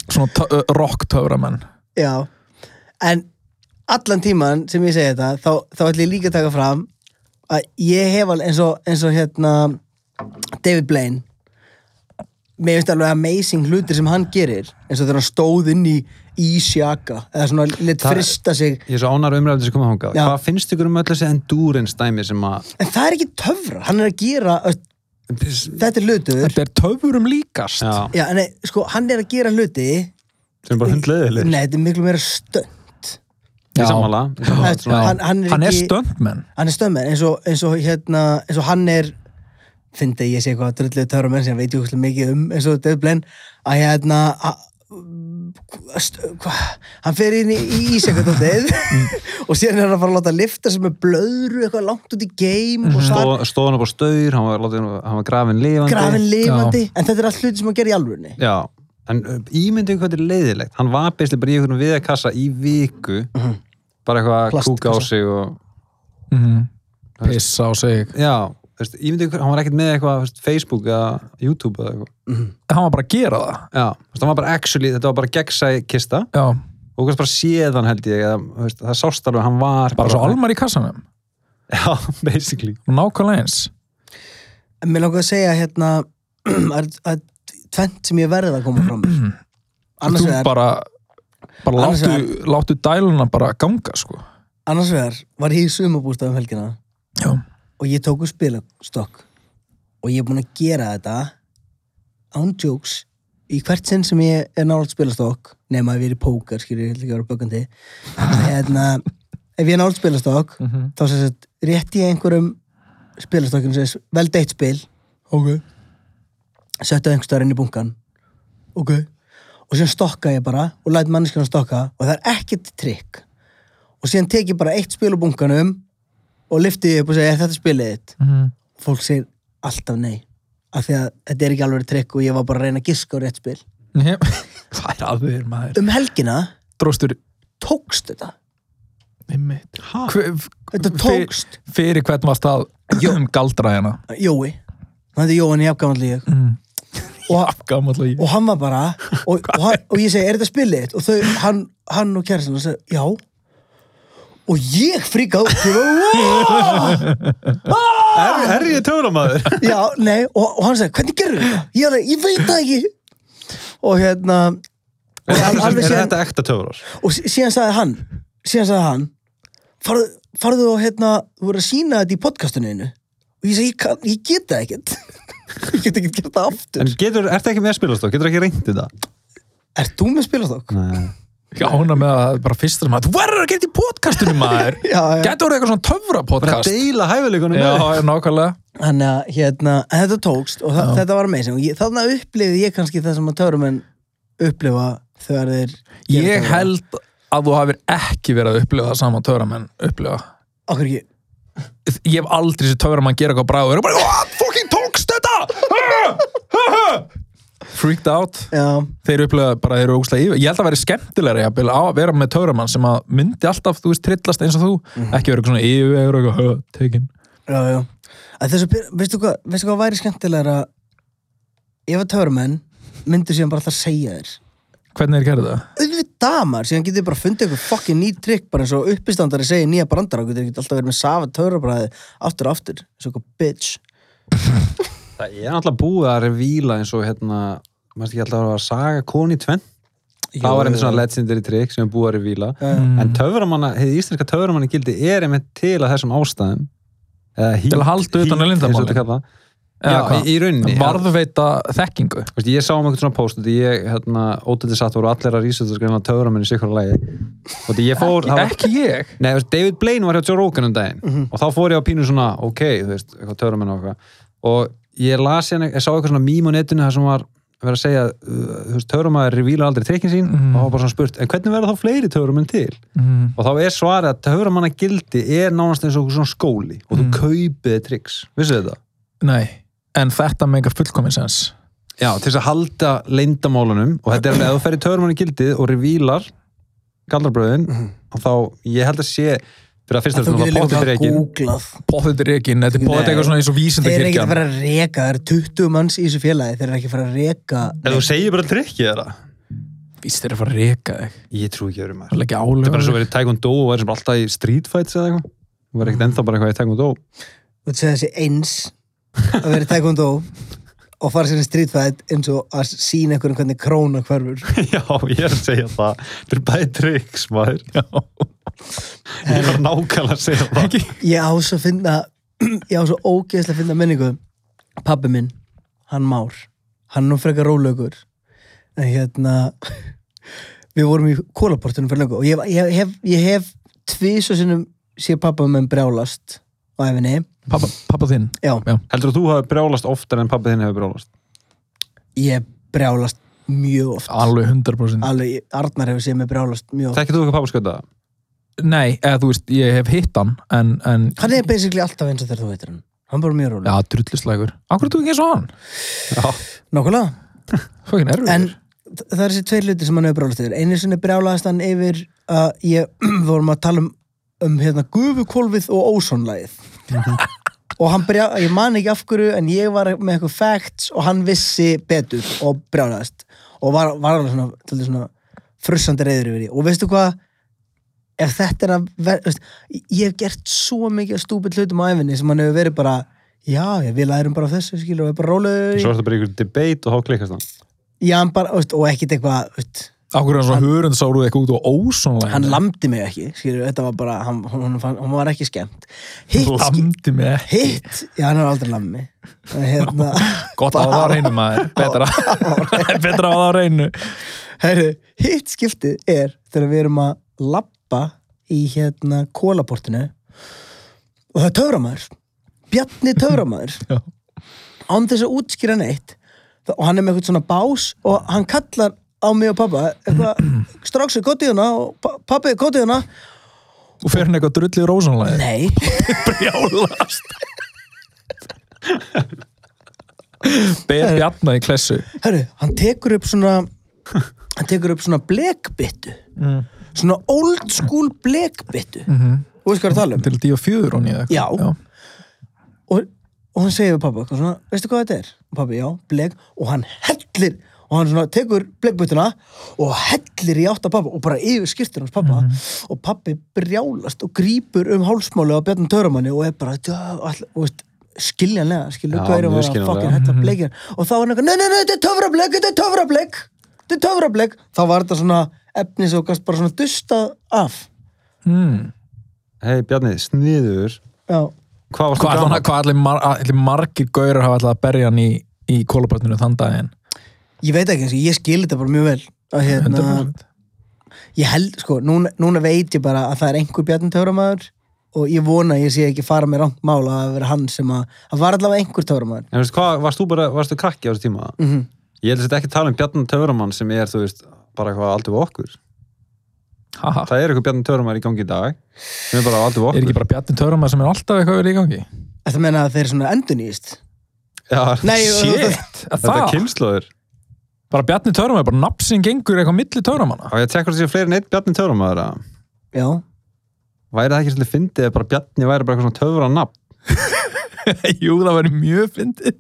Speaker 2: Svona tö- ö, rock töframenn.
Speaker 1: *laughs* Já, en allan tíman sem ég segi þetta þá, þá ætlum ég líka að taka fram að ég hef alveg eins og, eins og hérna David Blaine mér finnst alveg amazing hlutir sem hann gerir eins og þegar hann stóð inn í ísjaka eða svona lit
Speaker 3: Það-
Speaker 1: frista sig
Speaker 3: ég er svo ánar umræðið sem komið hangað
Speaker 1: Já.
Speaker 3: hvað finnst ykkur um öll þessi endurance dæmi sem að
Speaker 1: en það er ekki töfra, hann er að gera öst, þetta er hlutur
Speaker 2: Þetta er töfurum líkast.
Speaker 3: já,
Speaker 1: Já, en nei, sko, hann er að gera hluti
Speaker 3: sem er bara hundleiðileg
Speaker 1: Nei, þetta er miklu meira stönd
Speaker 3: í
Speaker 2: Já.
Speaker 3: sammála í sammála.
Speaker 1: Þetta-
Speaker 3: Svona-
Speaker 1: hann- hann er
Speaker 2: Hann er
Speaker 1: ekki-
Speaker 2: stöndmenn.
Speaker 1: hann er stömmen eins og, eins og hérna eins og hann er fyndi að ég sé eitthvað drulluð törra menn sem veit ég óslega mikið um eins og Dave Blaine að hérna að, st- hva, hann fer inn í ís eitthvað dótið *laughs* og síðan er hann að fara að láta lifta sem er blöðru eitthvað langt út í geim
Speaker 2: Mhm.
Speaker 1: og það
Speaker 3: Stóð- stóð hann upp á staur hann var, látið, hann var grafin lifandi
Speaker 1: grafin lifandi en þetta er allt hluti sem hann gerir í alvörunni
Speaker 3: já, en uh, ímyndið hvað þetta er leiðilegt hann var beislega bara í einhvern viðakassa í viku bara eitthvað að
Speaker 1: Plastkassa.
Speaker 3: kúka á sig og,
Speaker 2: Mhm. Pissa á sig.
Speaker 3: já, þú veist, ímyndið hvað, hann var ekkert með eitthvað þú veist, Facebook eða YouTube eða eitthvað
Speaker 2: Hann var bara að gera það.
Speaker 3: já, þú veist, hann var bara actually, þetta var bara gegnsæ kista
Speaker 2: Já,
Speaker 3: og hvað bara séðan held ég eða, þú veist, það sást alveg að hann var
Speaker 2: bara svo almar í kassanum.
Speaker 3: já, *laughs* basically
Speaker 2: Nákvæmlega eins.
Speaker 1: en mér langar að segja hérna *clears throat* að, að tvent sem ég verði að koma fram með. annars
Speaker 2: Mhm. Þú
Speaker 1: vegar
Speaker 2: bara, bara
Speaker 1: Annars
Speaker 2: láttu, láttu dæluna bara ganga, sko.
Speaker 1: annars vegar var ég í sumabústafum helgina
Speaker 2: Já.
Speaker 1: og ég tók um spilastokk og ég er búinn að gera þetta án jokes í hvert sinn sem ég er nálægt spilastokk nema að við erum í póker, skilur ég ætla ekki að vera bökandi hérna, ef ég er nálægt spilastokk þá sem sagt, rétti ég einhverjum spilastokkinu sem er vel deitt spil ok settu einhver staðar inn í bunkan ok og síðan stokka ég bara og læt manneskjana stokka og það er ekkert trikk og síðan tek ég bara eitt spil úr bunkanum og lyfti ég upp og segja, er þetta spilið þitt?
Speaker 2: Mhm.
Speaker 1: Fólk segir alltaf nei af því að þetta er ekki alveg trikk og ég var bara að reyna að giska á rétt spil.
Speaker 2: Jep. *laughs* Það er aðeins maður.
Speaker 1: Um helgina
Speaker 2: Dróstur,
Speaker 1: tókst þetta.
Speaker 2: einmitt. Hver,
Speaker 1: Þetta tókst.
Speaker 2: Fyrir, fyrir hvern varst það *clears throat* um galdraðina?
Speaker 1: Jói, hann hefði Jóhann í afgamaldi ég
Speaker 2: Mm.
Speaker 1: og,
Speaker 2: Gammal og ég.
Speaker 1: og hann var bara og, og, hann, og ég segi, er þetta spilið þitt? Og þau, hann, hann og kærastan og segja, já og ég fríkað út og "Wow!"
Speaker 3: er, er ég töframæður?
Speaker 1: já, nei, og, og hann segir, hvernig gerðu þetta? Ég, alveg, ég veit það ekki og hérna og
Speaker 3: er,
Speaker 1: alveg
Speaker 3: *laughs* er
Speaker 1: síðan-
Speaker 3: þetta ekta töfrar?
Speaker 1: og sí- síðan sagði hann síðan sagði hann farðu, farðu og hérna, þú voru að sína þetta í podcastinu einu og ég sagði, ég, kann, ég get það ekkert *laughs* ég get ekkert gert það aftur
Speaker 3: en getur, ertu ekki með spilastokk? getur ekki reyndið þetta?
Speaker 1: Er þú með spilastokk?
Speaker 3: Nei.
Speaker 2: Já, hún er með að bara fyrsta sem maður. Þú verður að gera þetta í podcastinu
Speaker 1: *laughs*
Speaker 2: maður.
Speaker 1: Já, já.
Speaker 2: Gæti orðið eitthvað svona töfra
Speaker 3: bara
Speaker 2: podcast.
Speaker 3: deila hæfileikunum
Speaker 2: Já,
Speaker 3: með þér.
Speaker 2: já, nákvæmlega.
Speaker 1: Þannig að hérna, en þetta tókst og það, þetta var amazing og ég, þannig að upplifið ég kannski það sem að törumenn upplifa þegar þeir gera
Speaker 2: Ég
Speaker 1: töfra.
Speaker 2: held að þú hafir ekki verið að upplifa það saman töframenn upplifa.
Speaker 1: Okkur ekki
Speaker 2: Ég hef aldrei sér töframann gera eitthvað bráð og eru bara, hvað fucking tókst þetta? *laughs* Freaked out.
Speaker 1: Já,
Speaker 2: þeir upplega bara þeir eru ógustlega yfir ég held að vera skemmtilegri að, byrja, á að vera með töframann sem að myndi alltaf, þú veist, trillast eins og þú ekki vera eitthvað svona yfir eða eitthvað "Hö, tekin
Speaker 1: já, já Að þessu, byr- veistu, hvað, veistu hvað væri skemmtilegra ef að törumenn myndu síðan bara alltaf segja þér
Speaker 2: hvernig er gerðið það?
Speaker 1: auðvitað maður, síðan getur þið bara fundið eitthvað fucking ný trikk, bara eins og uppistandari segir nýja brandara, og getur ekki alltaf verið með safa törrabræði aftur og aftur, eins og eitthvað bitch
Speaker 3: það er náttúrulega búið að revíla eins og hérna maður ekki alltaf að vera að saga koni tvenn það var einmitt svona legendary trick sem er búið að revíla
Speaker 2: Mm.
Speaker 3: en töframanna, hefði íslenska töframanna gildi er einmitt til að þessum ástæðum eða hít,
Speaker 2: Til að halda utan um leyndarmálin.
Speaker 3: eins og þetta kalla Já,
Speaker 2: Eða hvað?
Speaker 3: í- í rauninni, já.
Speaker 2: varðveita þekkingu
Speaker 3: Þú veist, ég sá um eitthvað svona post og ég, hérna, ótætti satt voru allir að rísöldast greina töframenn í sikkur lagi og því ég fór, það var
Speaker 2: ekki ég Mhm.
Speaker 3: Nei, þú veist, David Blaine var hjá Joe Rogan um daginn og þá fór ég á pínu svona, ok, þú veist, eitthvað törumenn og eitthvað og ég las hérna, ég sá eitthvað svona mím á netinu þar sem var verið að segja, uh, þú veist, törumæður revíla aldrei trikkin sín
Speaker 2: Mhm.
Speaker 3: og þá var bara svona spurt, en hvernig verða þá fleiri törumenn til?
Speaker 2: mm.
Speaker 3: Og þá er svarið að törumanna gildi er nánast eins og einhver svona skóli og þú
Speaker 2: Mhm.
Speaker 3: kaupið triks, vissu þetta?
Speaker 2: nei, en þetta meikar fullkominsens
Speaker 3: Já, til þess að halda leyndamálunum og þetta er alveg að þú ferð í törumanna gildið og revílar galdrabröðin og þá, ég held að sé fyrir að fyrst er
Speaker 1: Mhm. Þú
Speaker 3: þetta
Speaker 1: getur
Speaker 3: náttúrulega
Speaker 1: líka bara
Speaker 3: pottþéttir rekin.
Speaker 1: googlað.
Speaker 2: bóðið er ekki, þetta er bóðið
Speaker 1: Nei.
Speaker 2: eitthvað svona eins og
Speaker 1: Þeir eru ekki að
Speaker 2: vísindakirkjan
Speaker 1: fara að reka, það eru 20 manns í þessu félagi, þeir eru ekki að fara að reka.
Speaker 3: Ef þú segir bara trikkið þeirra
Speaker 2: víst þeir eru að fara að reka þig
Speaker 3: Ég trú ekki
Speaker 2: það
Speaker 3: öðrum maður.
Speaker 2: er ekki
Speaker 3: Þetta er bara svo
Speaker 2: álega
Speaker 3: verið taekwondo og verið sem alltaf í street fights eða eitthvað. Það var ekkert ennþá bara eitthvað í taekwondo. *laughs*
Speaker 1: Þú veist þessi eins að vera í taekwondo og fara sér í street fight eins og að sína einhverjum hvernig króna hverfur.
Speaker 3: Já, ég er að segja það. Þetta er bæði tricks, maður. Ég var nákvæmlega að segja það.
Speaker 1: Ég á svo að finna, *clears throat* ég á svo ógeðslega að finna minningu. Pabbi minn, hann Már, hann er nú frekar rólaugur. En hérna, *laughs* við vorum í kólaportunum fyrir löngu og ég, ég, hef, ég hef tvís og sinnum sé pabba minn brjálast á efinni.
Speaker 2: pappa, pappa þinn
Speaker 1: Já,
Speaker 2: Já.
Speaker 3: Heldur að þú hafi brjálast oftar en pappið þinn hefur brjálast?
Speaker 1: ég brjálast mjög oft.
Speaker 2: alveg 100%
Speaker 1: Alveg, Arnar hefur séð mig brjálast mjög oft.
Speaker 3: Þekkir þú eitthvað pappa skönda?
Speaker 2: nei, eða þú veist, ég hef hitt hann en, en
Speaker 1: Hann er basically alltaf eins og þegar þú heitir hann. Hann er bara mjög rólega.
Speaker 2: já, drullislegur akkur er þú ekki eins og hann?
Speaker 3: Já.
Speaker 1: Nákvæmlega.
Speaker 2: Fucking erfiður
Speaker 1: En þ- það er þessi tveir hluti sem hann hefur brjálast yfir. Einu sinni brjálaðist hann yfir að ég *clears throat* við vorum að tala um, um hérna gufukolfið og ósónlægið. og hann brjá, ég man ekki af hverju en ég var með eitthvað facts og hann vissi betur og brjálaðist. Og var, var alveg svona, svolítið svona frussandi reyður yfir því. Og veistu hvað? Ef þetta er að ver, veist, ég hef gert svo mikið stúpill hlutum á æfinni sem hann hefur verið bara já, já, við lærum bara af þessu skilur og er bara rólegur í-
Speaker 3: Svo er þetta bara einhver debate og þá klikkast hann.
Speaker 1: Já, hann bara, veist, og ekkert eitthvað veist,
Speaker 2: akkur er hann svona hörund sáruð eitthvað út og ósónlega
Speaker 1: hann lamdi mig ekki, skilur, þetta var bara hann, hann, hann, hann var ekki skemmt hitt, ski-
Speaker 2: lamdi mig
Speaker 1: hitt, já, hann var aldrei lamdi mig En hérna,
Speaker 2: gott að það var reynu maður betra, betra að það var reynu
Speaker 1: *laughs* herru, hitt skiptið er þegar við erum að lappa í hérna kólaportinu og það er töframæður Bjarni töframæður
Speaker 2: Já.
Speaker 1: án þess að útskýra neitt Þa- og hann er með eitthvað svona bás og hann kallar á mig og pappa eitthvað, *clears throat* stráksu, gótið hana og pa- pappi, gótið hana
Speaker 2: og fer hann eitthvað drullið rósónlega
Speaker 1: nei,
Speaker 2: brjálast ber bjarna í klessu
Speaker 1: Herru, hann tekur upp svona hann tekur upp svona blekbyttu svona old school blekbyttu og veist hvað ég er að tala um
Speaker 2: til að díu fjöður hún í það
Speaker 1: Já. og, og hann segir við pappa eitthvað svona, veistu hvað þetta er? Og pappi, já, blek og hann hellir og hann svona tekur blekbyttuna og hellir í átta pappa og bara yfir skýrtir hans pappa og pappi brjálast og grípur um hálsmáli á Bjarni Törumanni og er bara "Djö, all- og veist, skiljanlega, skilju,
Speaker 3: Já,
Speaker 1: hvað erum
Speaker 3: mjög
Speaker 1: við að
Speaker 3: skiljanlega.
Speaker 1: fucking hella bleikir og þá var hann eitthvað, nei, nei, nei, þetta er töfrableik, þetta er töfrableik þetta er töfrableik, þá var þetta svona efni sem þú gast bara svona dustað af
Speaker 2: mm.
Speaker 3: Hei Bjarni, sniður.
Speaker 1: já,
Speaker 3: Hvað varst þú
Speaker 2: hvað
Speaker 3: gaman?
Speaker 2: allir, hvað allir, mar, allir margir gaurar hafa allir að berja hann í, í kólabarninu þann daginn
Speaker 1: ég veit ekki, eins og ég skil þetta bara mjög vel að hérna,
Speaker 2: 100%
Speaker 1: ég held sko, núna, núna veit ég bara að það er einhver Bjarni Töframæður og ég vona að ég sé ekki fara með rangt mál að það hafi verið hann sem að, það var allavega einhver Töframæður
Speaker 3: En veistu hvað, varst þú bara, varst þú krakki á þessu tíma?
Speaker 1: mm -hmm.
Speaker 3: Ég held að þetta ekki tala um Bjarni Töframann sem er, þú veist, bara eitthvað aldrei við okkur.
Speaker 2: Haha.
Speaker 3: Það er eitthvað Bjarni Töframann í gangi í dag sem er bara aldrei
Speaker 2: er
Speaker 3: við okkur.
Speaker 2: ekki bara Bjarni Törumar sem er alltaf eitthvað verið í gangi
Speaker 1: Þetta meina að þeir eru svona endunýst
Speaker 3: Já,
Speaker 1: Nei, það,
Speaker 2: shit, að
Speaker 3: Þetta er
Speaker 2: það,
Speaker 3: kynnslóður.
Speaker 2: bara Bjarni Törumar bara nafn sem gengur eitthvað milli Törumanna
Speaker 3: *laughs* Á ég að tekka þessi fleiri en eitt Bjarni Töframæður að
Speaker 1: já,
Speaker 3: væri það ekki svolítið fyndið að bara Bjarni væri bara eitthvað svona töfra nafn?
Speaker 2: jú það verður mjög fyndið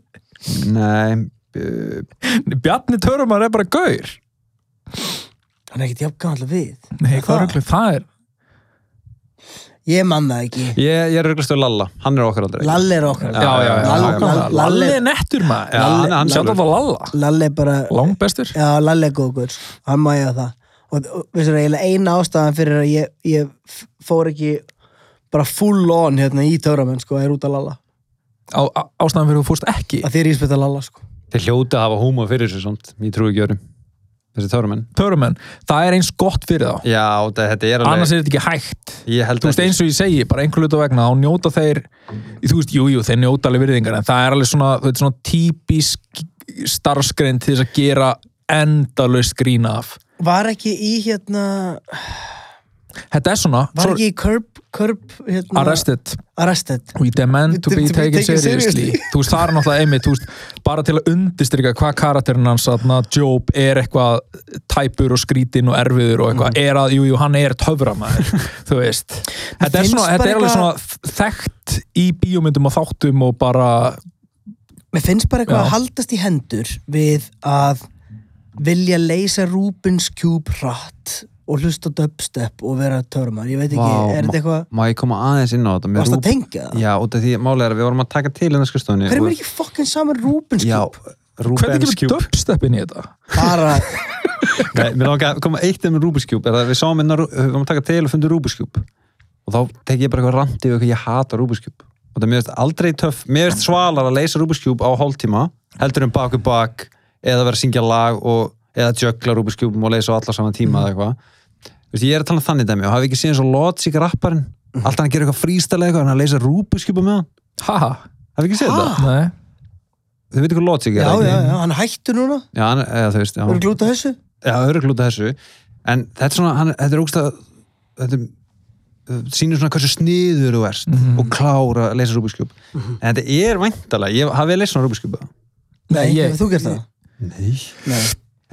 Speaker 3: Nei, uh,
Speaker 2: Bjarni Törumar er bara gaur
Speaker 1: hann er ekkert jafn gamall og við
Speaker 2: Nei, hvað
Speaker 1: Það?
Speaker 2: rugglu það er?
Speaker 1: ég man það ekki,
Speaker 3: ég, ég er auðvitað Lalla, hann er okkar aldrei.
Speaker 1: Lalli er okkar
Speaker 3: Já, já, já,
Speaker 1: Lall-
Speaker 3: já, já.
Speaker 1: Lall-
Speaker 2: Lalli
Speaker 1: Lalli
Speaker 2: er nettur maður
Speaker 3: Já, hann- hann
Speaker 2: Sjátt
Speaker 3: sjálfur.
Speaker 2: á Lalla
Speaker 1: Lalli er bara
Speaker 2: Langbestur
Speaker 1: Já, Lalli er góður, hann má ég það og, og veistu það, eiginlega eina ástæðan fyrir að ég, ég f- fór ekki bara full on hérna í törramenn sko, er út að Lalla
Speaker 2: á, á, ástæðan fyrir þú fórst ekki
Speaker 1: að þér íspita lalla sko
Speaker 3: Þeir hljóta að hafa húma fyrir þessu samt, ég trúi ekki örum þessi törumenn.
Speaker 2: törumenn, það er eins gott fyrir þá
Speaker 3: Já, þetta þetta er alveg
Speaker 2: annars er þetta ekki hægt
Speaker 3: ég held
Speaker 2: þú veist
Speaker 3: ekki.
Speaker 2: eins og ég segi, bara einhver hlut á vegna þá njóta þeir, þú veist, jújú, jú, þeir njóta alveg virðingar en það er alveg svona, þetta er svona típisk starfskrein til þess að gera endalaust grína af
Speaker 1: var ekki í hérna
Speaker 2: þetta er svona,
Speaker 1: var
Speaker 2: sorry,
Speaker 1: ekki í Curb, curb hérna,
Speaker 2: arrested
Speaker 1: arrested
Speaker 2: we demand to be taken seriously *laughs* þú veist, það er náttúrulega einmitt, þú veist bara til að undistrika hvað karakterinn hans þarna, Job er eitthvað tæpur og skrítinn og erfiður og eitthvað
Speaker 1: Mm.
Speaker 2: er að, jú, jú, hann er
Speaker 1: *laughs*
Speaker 2: töframæður þú veist, þetta er,
Speaker 1: finnst
Speaker 2: svona, þetta
Speaker 1: bara
Speaker 2: er alveg svona þekkt í bíómyndum og þáttum og bara
Speaker 1: mér finnst bara eitthvað
Speaker 2: Já.
Speaker 1: að haldast í hendur við að vilja leysa Rubens Cube hratt og hlusta á dubstep og vera törmar, ég veit ekki,
Speaker 3: Vá,
Speaker 1: er þetta eitthvað
Speaker 3: Má ég koma aðeins inn á þetta? með
Speaker 1: varst
Speaker 3: Rúb-
Speaker 1: að tengja það?
Speaker 3: Já, út af því málega er að við vorum að taka til hérna skrifstofunni
Speaker 1: hverjum
Speaker 3: og-
Speaker 1: er ekki fokkin saman Rubens
Speaker 3: Já,
Speaker 1: Cube?
Speaker 2: hvernig
Speaker 3: Rubens
Speaker 2: kemur
Speaker 3: Cube
Speaker 2: dubstep inn í þetta?
Speaker 3: *laughs*
Speaker 1: bara,
Speaker 3: Nei, Mér langar að koma eitt um Rubens Cube er að við sáum innan, við varum að taka til og fundum Rubens Cube og þá tek ég bara eitthvað randi og eitthvað ég hata Rubens Cube og það mér veist aldrei töff, mér veist svalar að leysa Rubens Cube á hálftíma heldur um bak við bak eða vera að syngja lag og, eða jökla Rubens Cube og leysa á alla saman
Speaker 1: Mhm.
Speaker 3: tíma eða eitthvað Þú veist, ég er að tala um þannig dæmi og hafi ekki séð eins og Logic rapparinn
Speaker 1: Mhm.
Speaker 3: alltaf hann gerir eitthvað frístælega eitthvað en hann leysa Rubens Cube með hann
Speaker 2: haha,
Speaker 3: hafi ekki séð það?
Speaker 2: nei
Speaker 3: Þau veit hvað Logic er
Speaker 1: já,
Speaker 3: það
Speaker 1: já,
Speaker 3: ekki?
Speaker 1: já, hann hættur núna
Speaker 3: Já, hann, eða, þú veist, já.
Speaker 1: voru glúta þessu
Speaker 3: Já, örugluta þessu en þetta er svona, hann, þetta er ógst að þetta er- þetta sýnir svona hversu sniður þú ert
Speaker 1: Mhm.
Speaker 3: og klára að leysa rúbiskjúb en þetta er væntalega, ég hafið leysað rúbiskjúba
Speaker 2: Nei, ég-
Speaker 1: hefur þú gert það?
Speaker 3: Nei
Speaker 1: Nei.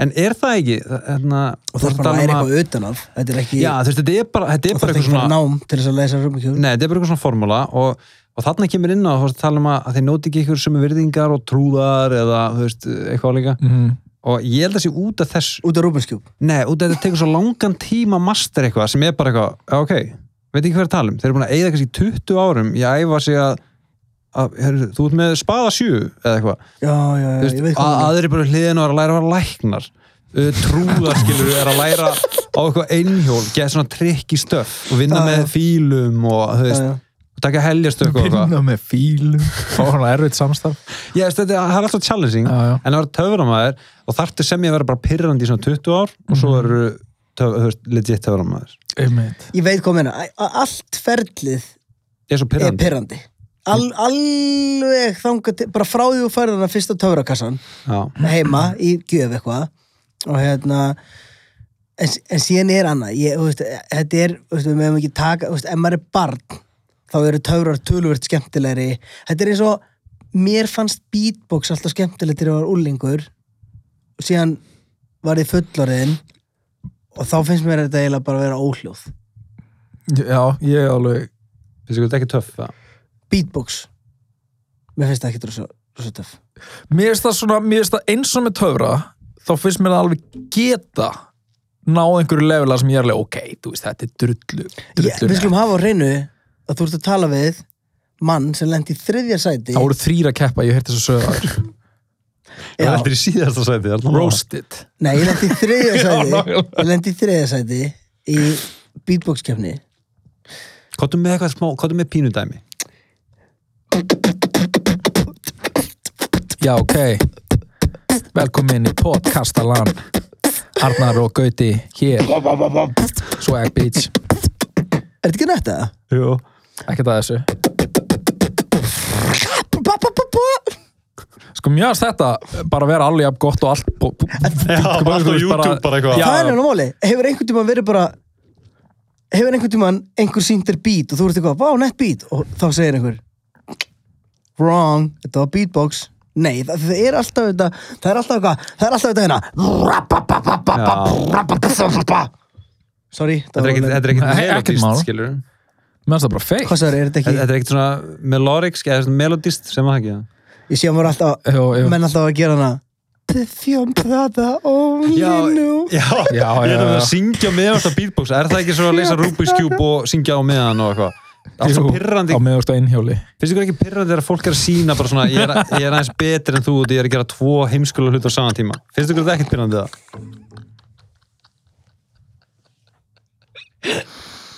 Speaker 3: En er það ekki, hérna, þannig um að
Speaker 1: og það er bara að læra eitthvað utan af þetta er ekki,
Speaker 3: Já, þú veist, þetta er bara, þetta
Speaker 1: og
Speaker 3: er
Speaker 1: það
Speaker 3: bara
Speaker 1: er
Speaker 3: eitthvað
Speaker 1: ekki bara
Speaker 3: svona
Speaker 1: nám til þess að leysa Rubens Cube
Speaker 3: Nei, þetta er bara eitthvað svona formúla og, og þarna kemur inn á þú veist, tala um að að þeir nóti ekki ykkur sömu virðingar og trúðar eða, þú veist, eitthvað líka
Speaker 2: mm.
Speaker 3: og ég held að sé út af þessu
Speaker 1: út af Rubens Cube
Speaker 3: Nei, út af þetta tekur svo langan tíma að master eitthvað sem er bara eitthvað, já, ok veit ekki hver að tala um, þeir eru búin að eigða kannski 20 árum í að æfa sig að, að heru, þú ert með spaða sjú eða eitthvað,
Speaker 1: já, já, já,
Speaker 3: Þú
Speaker 1: ég veit
Speaker 3: veist,
Speaker 1: hvað þú
Speaker 3: að-
Speaker 1: meinar.
Speaker 3: aðrir bara hliðin og er að læra að vera læknar uh, trúðarskilur er að læra á eitthvað einhjól, geta svona trikk í stöf og vinna
Speaker 1: Já, já.
Speaker 3: með fílum og þú veist,
Speaker 1: Já, já.
Speaker 3: taka heljarstökk og eitthvað
Speaker 2: pinna með *laughs* fílum og hann erfitt samstarf
Speaker 3: Já, veist, þetta það er alltaf challenging
Speaker 2: Já, já.
Speaker 3: en að vera töframæður og þarftu sem ég að vera bara pyrrandi í svona 20 ár og
Speaker 1: Mhm.
Speaker 3: svo eru töf, þú veist, legit töframæður
Speaker 2: einmitt
Speaker 1: ég veit hvað meina, allt ferlið
Speaker 3: Ég er svo
Speaker 1: er
Speaker 3: pyrrandi
Speaker 1: pyrrandi Al, alveg þangað til, bara frá því þú færði hana fyrsta töfrakassan
Speaker 3: Já.
Speaker 1: heima í gjöf eitthvað og hérna en, en síðan er annað ég, þú veist, þetta er, þú veist, við meðum ekki taka þú veist, ef maður er barn þá eru töfrar tölvöld skemmtilegri þetta er eins og mér fannst beatbox alltaf skemmtilegt þegar ég var úlingur og síðan var ég fullorðin og þá finnst mér þetta eiginlega bara að vera óhljóð
Speaker 2: já, ég alveg
Speaker 3: finnst ykkur þetta ekki töff það?
Speaker 1: beatbox mér finnst það ekki rosa, rosa töff
Speaker 2: mér finnst það svona, mér finnst það eins og með töfra þá finnst mér það alveg geta náð einhverju levela sem ég er alveg ok, þú veist, þetta er drullu
Speaker 1: Ég-
Speaker 2: drullu
Speaker 1: Við skulum hafa á reynu að þú ert að tala við mann sem lendi í þriðja sæti
Speaker 2: það voru þrýra keppa, ég heyrti þessu sögur *laughs*
Speaker 1: Já,
Speaker 3: í síðasta sæti
Speaker 2: roasted
Speaker 1: Nei, ég lendi í þriðja
Speaker 2: *laughs* Já,
Speaker 1: sæti
Speaker 2: nákvæmlega.
Speaker 1: Ég lendi í þriðja sæti í beatbox kefni
Speaker 3: Kottum með eitthvað smá, kottum með pínudæmi
Speaker 2: já, ok velkomin í podcastalan Arnar og Gauti hér swag bitch,
Speaker 1: Er þetta ekki nætt að?
Speaker 3: Jú
Speaker 2: ekkert að þessu
Speaker 1: Þetta
Speaker 2: Sko mjög að þetta bara vera alveg jafn gott og allt bú- bú-
Speaker 3: Já,
Speaker 2: sko,
Speaker 3: allt á
Speaker 2: þú veist,
Speaker 3: YouTube bara eitthvað.
Speaker 2: Já,
Speaker 1: Það er náttúrulega máli Hefur einhvern tímann verið bara Hefur einhvern tímann einhver sýnt þér beat og þú ert eitthvað, vá, nett beat og þá segir einhver Wrong, þetta var beatbox Nei, það, það er alltaf þetta Það er alltaf eitthvað, það er alltaf þetta hérna
Speaker 3: Þetta
Speaker 1: Sorry,
Speaker 3: er ekkit, þetta er ekkit
Speaker 2: Nei, ekkert mál.
Speaker 3: melodist, skilur
Speaker 2: Mér finnst það bara feitt
Speaker 1: Hvað sagður, er þetta
Speaker 3: Þetta
Speaker 1: ekki?
Speaker 3: er ekkit svona melodic, eða svona melodist sem það ekki
Speaker 1: Ég sé að maður alltaf,
Speaker 2: Jú, jú.
Speaker 1: menn alltaf að gera hana Perfume Prada only now
Speaker 2: Já,
Speaker 3: já, Ég er
Speaker 2: já,
Speaker 3: að
Speaker 2: já.
Speaker 3: syngja með alltaf beatbox Er það ekki svo að leysa Rubik's Cube og syngja á meðan og eitthvað Alltaf pyrrandi,
Speaker 2: á meðvart og einhjóli
Speaker 3: finnst ykkur ekki pyrrandi þegar fólk er að sína bara svona, ég er, ég er aðeins betri en þú og ég er að gera tvo heimskulega hlut á saman tíma Finnst ykkur þetta ekkit pyrrandi það?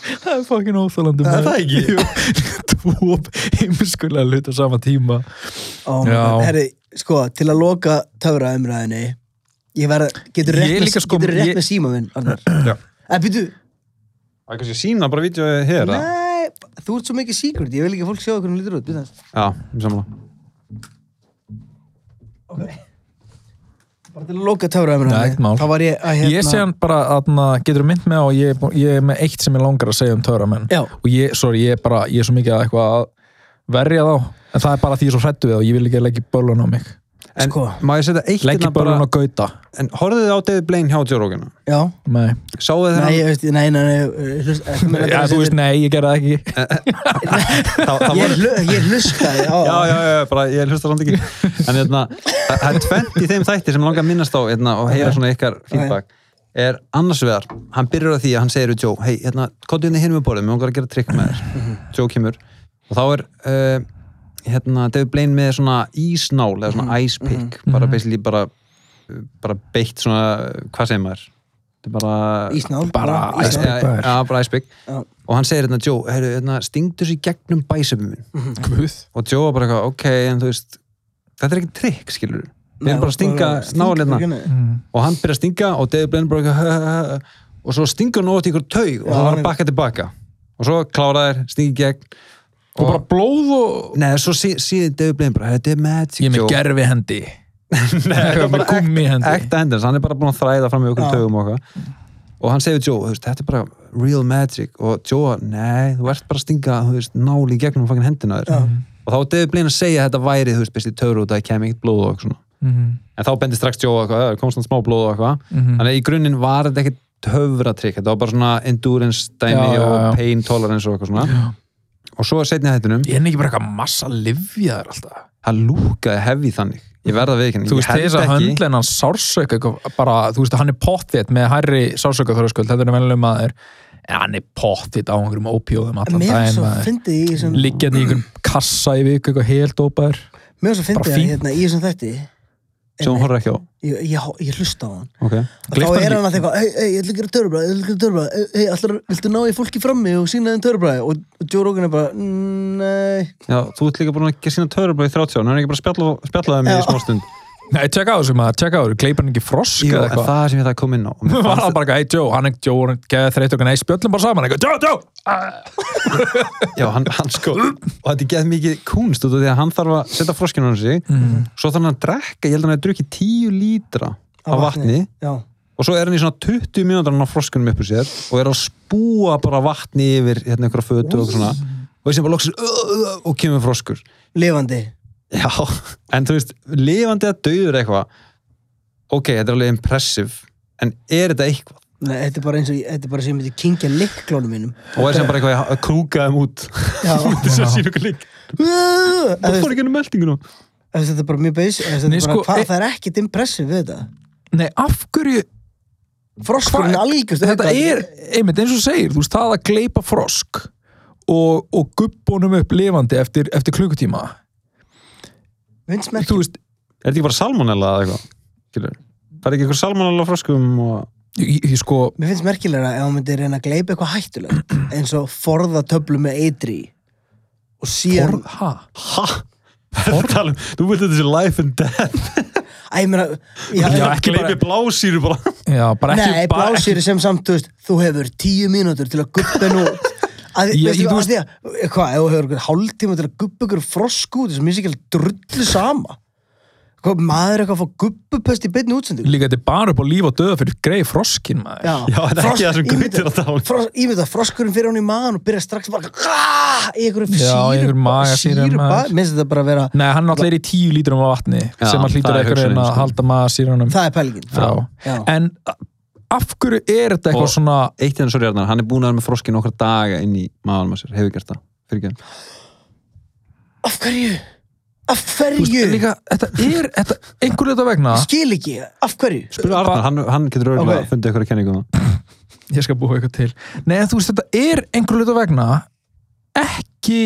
Speaker 2: Það er fucking óþálandi
Speaker 3: Er það ekki?
Speaker 2: Jú. tvo heimskulega hlut á sama tíma
Speaker 1: Oh
Speaker 2: Já.
Speaker 1: Herri, sko, til að loka töfra umræðinni Ég verð, getur rétt,
Speaker 2: Ég
Speaker 1: með,
Speaker 2: líka sko-
Speaker 1: getur rétt
Speaker 2: ég-
Speaker 1: með síma minn Arnar Eh, En býtu,
Speaker 3: Það er kannski sína bara vídeo hér eða?
Speaker 1: nei, þú ert svo mikið secret Ég vil ekki að fólk sjá okkur hún lítur út býtu aðeins.
Speaker 3: Já, ég samla
Speaker 1: Bara til að loka töfra
Speaker 2: Nei, ekkert
Speaker 1: umræðinni
Speaker 2: mál.
Speaker 1: Þá var ég að hérna-
Speaker 2: Ég sé hann bara, atna, getur mynd með á ég, er bú- ég er með eitt sem ég langar að segja um töramenn
Speaker 1: Já.
Speaker 2: og ég, sorry, ég er bara, ég er svo mikið að eitthvað að verja þá en það er bara því ég er svo hrættu við þá, ég vil ekki leggja bölun á mig
Speaker 3: En
Speaker 1: Sko.
Speaker 3: má ég setja eitt
Speaker 2: leggja
Speaker 3: hérna bara
Speaker 2: bölun á gauta
Speaker 3: En horfðu þið á David Blaine hjá Jórókina
Speaker 1: Já,
Speaker 2: nei.
Speaker 3: Sáðu þið
Speaker 1: nei,
Speaker 3: hann
Speaker 1: ég veist, nei, nei, nei, nei hlust,
Speaker 2: Ja, þú veist, nei, ég gerði það ekki
Speaker 3: Það- það
Speaker 1: Ég,
Speaker 3: var-
Speaker 1: hlu, ég hlustaði á
Speaker 3: Já, já, já, bara ég hlusta samt ekki
Speaker 1: *laughs*
Speaker 3: En hérna, það það er tvent í þeim þætti sem mig langar að minnast á hérna, og heyra svona ykkar feedback er annars vegar, hann byrjar á því að hann segir við Joe, hei, hérna, kóttu hérna hinn með borðum við langar að gera trikk með þér,
Speaker 1: Mhm.
Speaker 3: Joe kemur og þá er uh, hérna, David Blaine með svona ísnál eða
Speaker 1: Mhm.
Speaker 3: svona ice pick, bara basically bara uh, bara beitt svona uh, hvað segir maður? Þetta er bara
Speaker 1: Ísnál
Speaker 2: Bara
Speaker 1: ísnál.
Speaker 2: Ice pick,
Speaker 3: Já,
Speaker 2: maður.
Speaker 3: já, bara ice pick
Speaker 1: Já.
Speaker 3: og hann segir hérna, Joe, heyrðu, hérna, stingdu þessu í gegnum bæsefum minn
Speaker 2: Guð.
Speaker 3: og Joe var bara eitthvað, ok, en þú veist þetta er ekki trikk, skilur við erum bara að stinga hérna. nálinna
Speaker 1: nálinna
Speaker 3: og hann byrjar að stinga og David Blaine bara eitthvað, "Ha, ha, ha, ha." og svo stingur hann ofti ykkur taug og
Speaker 1: Já,
Speaker 3: það var
Speaker 1: hann-
Speaker 3: að bakka tilbaka og svo klára þær, stingi í gegn
Speaker 2: og bara blóð og
Speaker 3: neða, svo sí, síðan David Blaine bara, þetta er magic
Speaker 2: ég er með
Speaker 3: Joe."
Speaker 2: gerfi hendi *laughs*
Speaker 3: Nei,
Speaker 2: með
Speaker 3: bara ekta-
Speaker 2: gúmmi hendi.
Speaker 3: ekta hendins, hann er bara búin að þræða fram með okkur
Speaker 1: Já.
Speaker 3: taugum og eitthvað og hann segir við Joe, þú veist, þetta er bara real magic og Joe, nei, þú ert bara að stinga þú veist, náli í gegnum fangin hendina á þér og þá var David Blaine að segja að þetta væri þú veist, besti taur út að það kemur ekkert blóð og eitthvað svona
Speaker 2: Mhm.
Speaker 3: en þá bendi strax Joe á eitthvað, "Það er konstant smá blóð og eitthvað
Speaker 2: Mhm.
Speaker 3: þannig að í grunninn var þetta ekkert höfratrykk, þetta var bara svona endurance dæmi
Speaker 2: Já, já,
Speaker 3: og
Speaker 2: já.
Speaker 3: pain tolerance og eitthvað svona og svo setni hættunum,
Speaker 2: ég er ekki bara eitthvað massa livjaðar alltaf
Speaker 3: það lúkaði hefði þannig ég verða við ekki,
Speaker 2: þú
Speaker 3: ég
Speaker 2: veist, þess að höndlenan sársöka eitthvað, bara, þú veist, hann er pottitt með hærri sársöka þröskuld, þetta er venlega maður en hann er pottitt á einhverjum ópjóðum allan
Speaker 1: Mér er
Speaker 2: daginn
Speaker 1: svo
Speaker 2: maður
Speaker 1: fyndið í þessum
Speaker 2: liggjandi í einhverjum kassa í viku eitthvað helt ópaður
Speaker 1: Mér er svo
Speaker 2: Bara
Speaker 1: fyndið að
Speaker 2: fínt.
Speaker 1: hérna í þessum þætti
Speaker 3: sem hún horfði ekki á
Speaker 1: ég, ég, ég hlusta á hann
Speaker 3: okay.
Speaker 1: og
Speaker 2: Gleypti
Speaker 1: þá
Speaker 2: hann
Speaker 1: er
Speaker 2: ekki?
Speaker 1: hann alltaf eitthvað hei, hei, ég ætla að gera törubræði, ég ætla að gera törubræði hei, allar, viltu ná í fólki frammi og sína þeim törubræði og, og Joe Rogan er bara, nei
Speaker 3: Já, þú ert líka búin að ekki sína törubla í 30 ára, hann er ekki bara að spjalla- spjalla það mig í
Speaker 1: Já.
Speaker 3: smá stund.
Speaker 2: Nei, tjekka á þessu maður, tjekka á þessu, gleipar hann ekki frosk
Speaker 3: Jú,
Speaker 2: eða
Speaker 3: en
Speaker 2: eitthvað
Speaker 3: það sem ég það kom inn á. og mér
Speaker 2: var
Speaker 3: fannst-
Speaker 2: það bara eitthvað, hey Joe, hann er Joe, hann geði þreytt okkur, nei, spjöllum bara saman eitthvað, Joe, Joe,
Speaker 3: Já, hann, hann sko, og þetta er geð mikið kúnst út af því að hann þarf að setja froskinu hann sig, svo þarf hann að drekka, ég held að hann að drukki 10 lítra af vatni,
Speaker 1: já,
Speaker 3: og svo er hann í svona 20 mínútur hann á froskunum upp úr sér og er að spúa bara vatni yfir hérna einhverja fötu og eitthvað svona, og ég sem bara loksir og kemur froskur.
Speaker 1: lifandi
Speaker 3: Já, en þú veist, lifandi að dauður eitthvað, ok, þetta er alveg impressive, en er þetta eitthvað?
Speaker 1: nei, þetta er bara eins og, þetta er bara sem ég myndi kingja likklónum mínum
Speaker 3: og er sem bara eitthvað að krúka þeim út
Speaker 1: já,
Speaker 3: þess að sína ykkur lík
Speaker 1: Eða
Speaker 3: það
Speaker 1: þú veist,
Speaker 3: fór ekki um henni meldinguna
Speaker 1: eða þetta er bara mjög beis eða þetta
Speaker 2: Nei,
Speaker 1: er bara,
Speaker 2: sko,
Speaker 1: hvað,
Speaker 2: e-
Speaker 1: það er ekkit impressive við þetta
Speaker 2: nei, af hverju,
Speaker 1: froskurinn
Speaker 2: Hva-
Speaker 1: algjörst
Speaker 2: þetta er, einmitt eins og þú segir, þú veist, það að gleipa frosk og, og gubbunum upp lifandi eftir, eftir klukkutíma,
Speaker 1: vinsmerki
Speaker 2: þú veist,
Speaker 3: er þetta ekki bara salmonella eða eitthvað Skilur? það er ekki eitthvað salmonella á fröskum og...
Speaker 2: ég, ég, sko,
Speaker 1: Mér finnst merkilega ef hann myndi reyna að gleypa eitthvað
Speaker 2: *clears throat*
Speaker 1: hættulegt eins og forða töflu með eitri í. og síðan,
Speaker 2: orð, hæ?
Speaker 3: ha? Tala, um- *laughs* þú veit þetta sé life and death
Speaker 1: æ, ég meina já,
Speaker 2: Já,
Speaker 1: já,
Speaker 2: ekki bara-
Speaker 3: gleipi blásýru bara
Speaker 2: Já, bara ekki,
Speaker 1: Nei,
Speaker 2: bara
Speaker 1: blásýri sem samt, þú veist, þú hefur tíu mínútur til að guppa nú
Speaker 2: *laughs*
Speaker 1: að,
Speaker 2: Ég-
Speaker 1: veistu,
Speaker 2: ég- þú
Speaker 1: að því að, hvað, ef þú hefur einhver hálftíma til að guppa ykkur frosk út þessum minnst ekki alveg drullu sama hvað, maður er eitthvað að fá guppupest í beinni útsendingu
Speaker 2: líka þetta er bara upp á líf og döða fyrir greið froskin maður
Speaker 3: Já, þetta er ekki það sem Gauti er að tala um.
Speaker 1: fros, Ímynda, froskurinn fyrir hann í maðan og byrja strax bara "Ah!" í einhverju
Speaker 2: Já, í einhverju magasýru,
Speaker 1: síru
Speaker 2: maður.
Speaker 1: minnst þetta bara að vera,
Speaker 2: Nei, hann náttúrulega er í tíu lítrum af vatni
Speaker 3: Já,
Speaker 2: sem hann hlýtur
Speaker 3: það er
Speaker 2: eitthvað en
Speaker 3: hugsunin,
Speaker 2: að
Speaker 3: sko.
Speaker 2: halda maður sírunum
Speaker 1: það er pælgin
Speaker 2: frá
Speaker 1: Já.
Speaker 2: En af hverju er þetta eitthvað
Speaker 3: Og-
Speaker 2: svona
Speaker 3: eitt enn sorry Arnar, hann er búin að vera með froskin okkar daga inn í maðanum að sér, hefur gert það fyrir ekki
Speaker 1: af hverju af
Speaker 2: þú veist,
Speaker 1: hverju,
Speaker 2: líka, Þetta er þetta, einhver leita vegna
Speaker 1: Ég skil ekki af hverju
Speaker 3: Spurðu Arnar, hann, hann getur auðvitað
Speaker 1: Ok.
Speaker 3: að funda ykkur að kenningu um það
Speaker 2: Ég skal búa eitthvað til Nei, en þú veist, þetta er einhver leita vegna ekki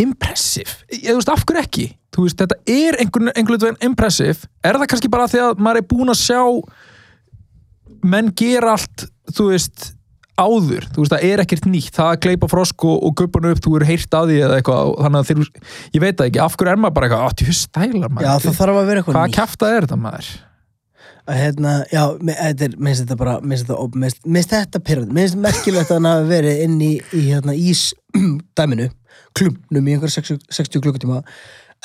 Speaker 2: impressive Ég, þú veist, af hverju ekki þú veist, þetta er einhver, einhver leita vegna impressive er það kannski bara því að maður er búin að sjá menn gera allt þú veist áður, þú veist, það er ekkert nýtt það að gleypa frosk og, og guppanu upp, þú eru heyrt að því eða eitthvað, og þannig að þeir, ég veit það ekki af hverju er maður bara eitthvað, að þú stælar maður
Speaker 1: Já, það þarf að vera eitthvað
Speaker 2: hvað kæfta er þetta maður
Speaker 1: að hérna, já, me- þetta er, minnst þetta bara minnst þetta, op- minnst, minnst þetta pyrrand minnst merkilegt að hann hafi verið inn í, í hérna, ís *clears throat* dæminu klumpnum í einhverja 60, 60 klukkutíma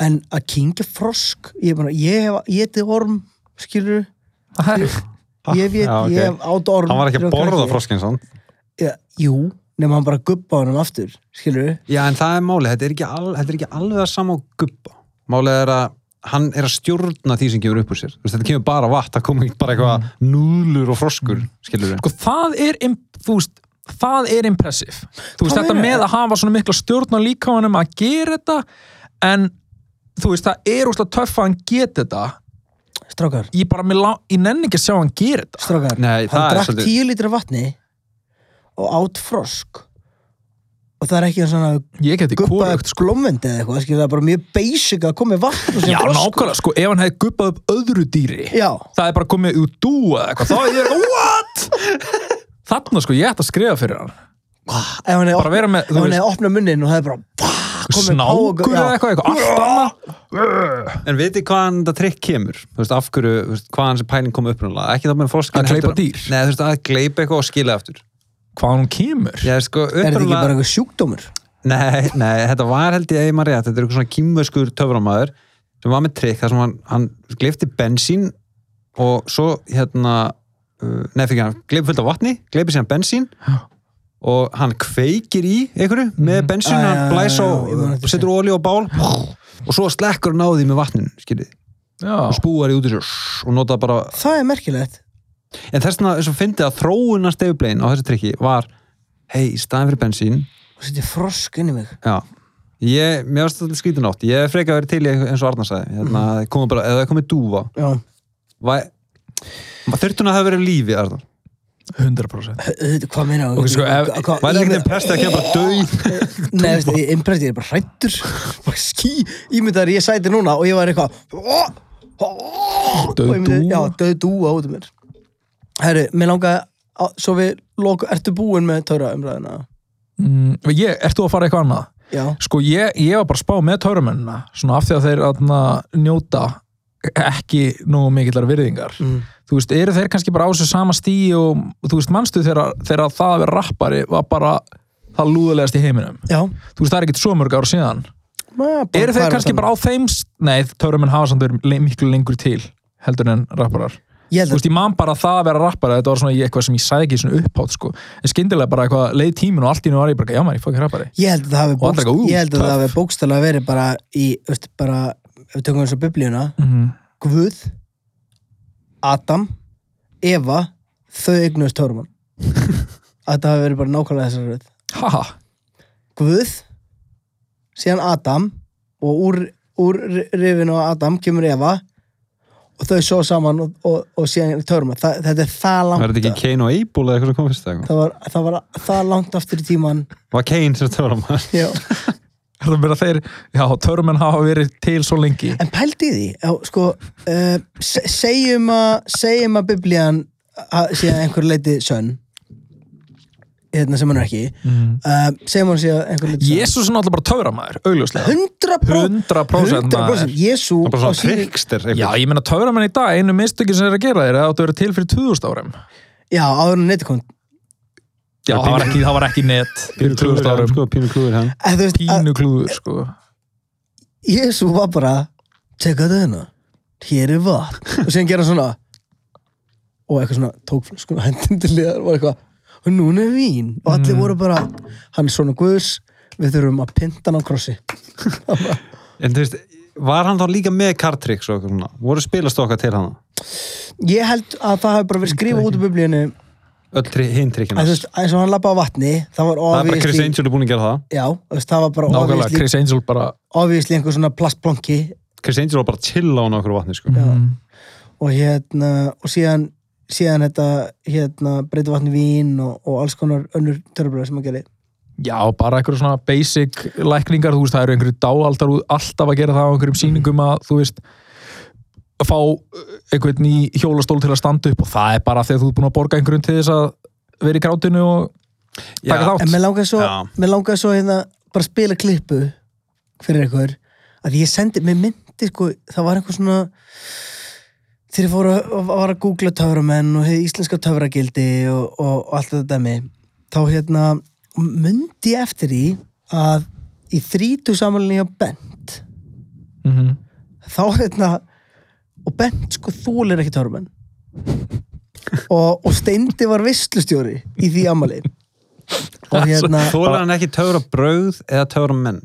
Speaker 1: en að kingja frosk ég, bara, ég hef getið orm skilur,
Speaker 2: það
Speaker 1: ég
Speaker 2: er,
Speaker 1: hef, ég,
Speaker 3: Ah, Já, ok.
Speaker 1: ég hef átt orm
Speaker 3: Hann var ekki að
Speaker 1: þegar ég
Speaker 3: borða
Speaker 1: krakki.
Speaker 3: froskinn sann.
Speaker 1: já, jú, nema hann bara gubba honum aftur skilur,
Speaker 3: Já, en það er málið, þetta er ekki, al, þetta er ekki alveg að sama á gubba. Málið er að hann er að stjórna því sem kemur upp úr sér. Þú Veist, þetta kemur bara vatn, það kom ekki bara eitthvað núðlur og froskur, skilur við.
Speaker 2: sko, það er im- þú veist, það er impressiv þú veist,
Speaker 1: Hvað
Speaker 2: þetta
Speaker 1: meina
Speaker 2: með
Speaker 1: ég?
Speaker 2: að hafa svona mikla stjórn á líkamanum að gera þetta en þú veist, það er úrslega töff að hann geta þetta
Speaker 1: strákar
Speaker 2: ég bara, mér lá- ég nenni ekki að sjá hann gera þetta
Speaker 1: strákar,
Speaker 3: Nei, það
Speaker 1: hann
Speaker 3: er
Speaker 1: drakk
Speaker 3: svolítið-
Speaker 1: 10 lítra af vatni og átt frosk og það er ekki eins og hann hafi
Speaker 2: ég geti
Speaker 1: guppaði
Speaker 2: kórugt
Speaker 1: upp glómvendi eða eitthvað, skilur það er bara mjög basic að koma með vatn og
Speaker 2: Já,
Speaker 1: segja
Speaker 2: nákvæmlega, sko, ef hann hefði guppað upp öðru dýri
Speaker 1: Já,
Speaker 2: það er bara komið úr dú eða eitthvað, þá er ég eitthvað, what? Þarna, sko, ég ætti að skrifa fyrir hann
Speaker 1: ef hann
Speaker 2: Bara vera með,
Speaker 1: hefði
Speaker 2: þú
Speaker 1: opna,
Speaker 2: veist-
Speaker 1: hef opnað munnin og það er bara bah, komið
Speaker 2: Snákur
Speaker 1: páfagau- já.
Speaker 2: eða eitthvað, eitthvað, allt annað
Speaker 3: En veitir hvaðan þetta trikk kemur? Þú veist, af hverju, þú veist, hvaðan sem pæling kom upprunalega? Ekki það með froskin.
Speaker 2: Að gleypa dýr?
Speaker 3: Nei, þú veist, að gleipa eitthvað og skila aftur.
Speaker 2: Hvaðan hún kemur?
Speaker 3: Já, sko,
Speaker 1: Er þetta ekki bara
Speaker 3: upprunalega...
Speaker 1: eitthvað sjúkdómur?
Speaker 3: Nei, nei, þetta var held ég eigi maður rétt. Þetta er eitthvað svona kýmverskur töframæður sem var með trikk þar sem hann, hann gleifti bensín og svo hérna, uh, nei, fyrir ekki hann, gleipi fullt af vatni, gleipi síðan bensín og hann kveikir í einhverju með bensín,
Speaker 1: Ah, já,
Speaker 3: hann
Speaker 1: já,
Speaker 3: blæs
Speaker 1: já,
Speaker 3: á,
Speaker 1: já, ég man eftir
Speaker 3: setur olíu á bál og svo slekkur hann á því með vatnin, skiljið. og
Speaker 2: Já,
Speaker 3: spúar í út í sér shhh, og nota bara
Speaker 1: Það er merkilegt
Speaker 3: en þess vegna þess að fyndi að þróuna stefublein á þessu trikki var hei, í staðin fyrir bensín
Speaker 1: og setja frosk inn í mig
Speaker 3: já, ég, mér varst þetta skrítin átt ég hef frekar verið til í eins og Arnar sagði hérna, mm. bara, eða komið dúfa
Speaker 1: Já,
Speaker 3: var, var þurftun að hafa verið á lífi Arnar
Speaker 2: 100%
Speaker 1: auðvitað, hvað meina
Speaker 2: Ok, sko, ef-
Speaker 3: var það ekkert impressið að kemja bara döið
Speaker 1: Nei, veistu, ég impressið, ég er bara hrættur *laughs* bara ský, ímyndaður ég sæti núna og ég var eitthvað ó, ó,
Speaker 2: Dauð
Speaker 1: og ég myndi-
Speaker 2: dúa.
Speaker 1: Já, döð dúa út um mér Herru, mér langaði að, svo við lok, ertu búin með töfra umræðina?
Speaker 2: mm, ég, Ert þú að fara eitthvað annað?
Speaker 1: Já,
Speaker 2: Sko, ég, ég var bara að spá með törumennina svona af því að þeir atna, njóta ekki nógu mikillar virðingar
Speaker 1: mm.
Speaker 2: þú veist, eru þeir kannski bara á þessu sama stíi og þú veist, manstu þegar, þegar það að vera rappari var bara það lúðulegast í heiminum
Speaker 1: já
Speaker 2: þú veist, það er ekkert svo mörg ára síðan
Speaker 1: Ma, bara,
Speaker 2: eru þeir kannski bara á þeim s- nei, törumenn hafa samt verið le- miklu lengur til heldur en rapparar
Speaker 1: Ég held
Speaker 2: þú
Speaker 1: að,
Speaker 2: veist, ég man bara það að vera rappari þetta var svona í eitthvað sem ég sagði ekki svona upphátt sko. en skyndilega bara eitthvað leið tímin og allt í nú var ég bara, já maður, ég fók rappari
Speaker 1: ég held að það hafi
Speaker 2: Og allir
Speaker 1: bókst-
Speaker 2: eitthvað, ú,
Speaker 1: ég held að það
Speaker 2: töff.
Speaker 1: hafi bókstælega verið bara í, veist, bara, ef við tökum eins og biblíuna
Speaker 2: mm -hmm.
Speaker 1: Guð, Adam, Eva, þau eignuðust
Speaker 2: *laughs*
Speaker 1: Tórumann. Þetta hafi verið bara nákvæmlega þessar röð.
Speaker 2: haha,
Speaker 1: Guð, síðan Adam og úr, úr rifinu á Adam kemur Eva og þau svo saman og, og, og síðan Tórumann. Þa, þetta er það
Speaker 3: var þetta
Speaker 1: langt.
Speaker 3: ekki Kane og Abel eða eitthvað sem kom fyrst eða eitthvað
Speaker 1: Það var, það var það langt aftur í tíman.
Speaker 3: var Kane sem töfram
Speaker 1: Já. *laughs*
Speaker 2: er það bara þeir já, törumenn hafa verið til svo lengi
Speaker 1: En pældi í því, já, sko, uh, se- segjum að, segjum að biblían að- sé að einhver leiti sönn, hérna sem hann er ekki,
Speaker 3: Mhm.
Speaker 2: mm.
Speaker 1: uh, segjum hann sé að einhver leiti sönn.
Speaker 2: Jésús er náttúrulega bara töframæður, augljóslega
Speaker 1: 100%
Speaker 2: 100% maður
Speaker 1: 100% Jésu
Speaker 3: það er bara
Speaker 1: á
Speaker 3: svona
Speaker 1: sínum-
Speaker 3: trickster
Speaker 2: Já,
Speaker 3: eitthvað.
Speaker 2: ég meina töframenn í dag, einu mistökin sem er að gera þér er að áttu að vera til fyrir 2000 árum
Speaker 1: Já, áður en neti kom
Speaker 2: Já, það var ekki, það var ekki net fyrir 2000
Speaker 3: Pínu klúður hann,
Speaker 2: árum
Speaker 3: sko, pínu klúður hann.
Speaker 1: En þú veist, að
Speaker 2: Pínu klúður, sko
Speaker 1: Jésu var bara Tjekka þetta hérna Hér er vatn Og síðan gera hann svona Og eitthvað svona Tók sko, hendin til liðar Var eitthvað Og núna er vín Og allir
Speaker 3: Mm.
Speaker 1: voru bara Hann er svona guðs Við þurfum að pinta hann á krossi
Speaker 3: en þú veist, var hann þá líka með kartricks og eitthvað svona, voru spilastokka til hann
Speaker 1: Ég held að það hafi bara verið skrifað út úr biblíunni
Speaker 3: öll tri- hinn trikkin
Speaker 1: að þú veist, eins og hann lappa á vatni Það var
Speaker 3: það er bara Chris
Speaker 1: obviously
Speaker 3: Angel er búin að gera það
Speaker 1: Já, þú veist, það var bara
Speaker 2: Nákvæmlega,
Speaker 1: obviously,
Speaker 2: Chris Angel bara
Speaker 1: obviously einhver svona plastplonki
Speaker 3: Chris Angel var bara að chilla á hann okkur vatni sko.
Speaker 2: mm,
Speaker 1: og hérna og síðan, síðan þetta hérna breyti vatni vín og, og alls konar önnur törfbröð sem að gera
Speaker 2: Já, bara einhverjum svona basic lækningar, þú veist, það eru einhverju dáaldar út alltaf að gera það á einhverjum sýningum að, þú veist að fá uh, einhvern í hjólastól til að standa upp og það er bara þegar þú ert búin að borga einhverjum til þess að verið í grátinu og taka
Speaker 3: Já.
Speaker 1: En
Speaker 2: þátt
Speaker 1: mér langar svo,
Speaker 3: Já.
Speaker 1: mér langar svo hérna, bara að spila klippu fyrir ykkur að ég sendi, mér myndi sko, það var einhver svona þegar ég fór að, að, var að googla töframenn og hefði íslenska töfragildi og, og, og allt þetta dæmi þá hérna myndi ég eftir í að í þrítu samanlega bent
Speaker 2: mm -hmm.
Speaker 1: þá hérna og Bent sko þólir ekki törmenn og, og Steindi var vistlustjóri í því ammali og hérna
Speaker 3: Þólar hann ekki töfra bröð eða töfra menn?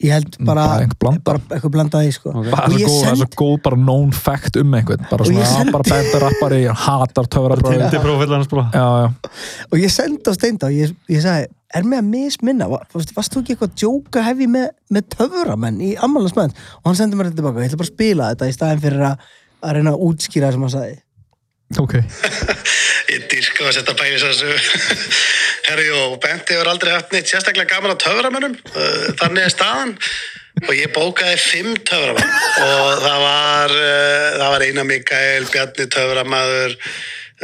Speaker 1: ég held bara,
Speaker 2: Mm, Bara einhver blanda.
Speaker 1: bara eitthvað blandaði sko
Speaker 3: Ok.
Speaker 2: Það
Speaker 1: og
Speaker 2: er
Speaker 1: ég
Speaker 2: svo góð, það er
Speaker 1: sendi
Speaker 2: svo góð bara known fact um einhvern bara svona,
Speaker 1: ég sendi-
Speaker 2: sendi... bara bæta rappari, hann hatar töfrabröð Já,
Speaker 3: prófið hann spróð
Speaker 2: já,
Speaker 1: og ég sendi á Steinda og ég, ég sagði er mig að misminna, Var- varst, varst þú ekki eitthvað djóka hefi með, með töframenn í ammálasmenn og hann sendi mér þetta tilbaka, ég ætla bara að spila þetta í staðin fyrir að, að reyna að útskýra það sem hann sagði
Speaker 2: ok
Speaker 4: Ég dyrka að setja bæði þessu. *laughs* Herri, og Benti hefur aldrei haft neitt sérstaklega gaman á töframönnum. Uh, Þannig er staðan. Og ég bókaði fimm töframann. Og það var, uh, það var Einar Mikael, Bjarni töframæður,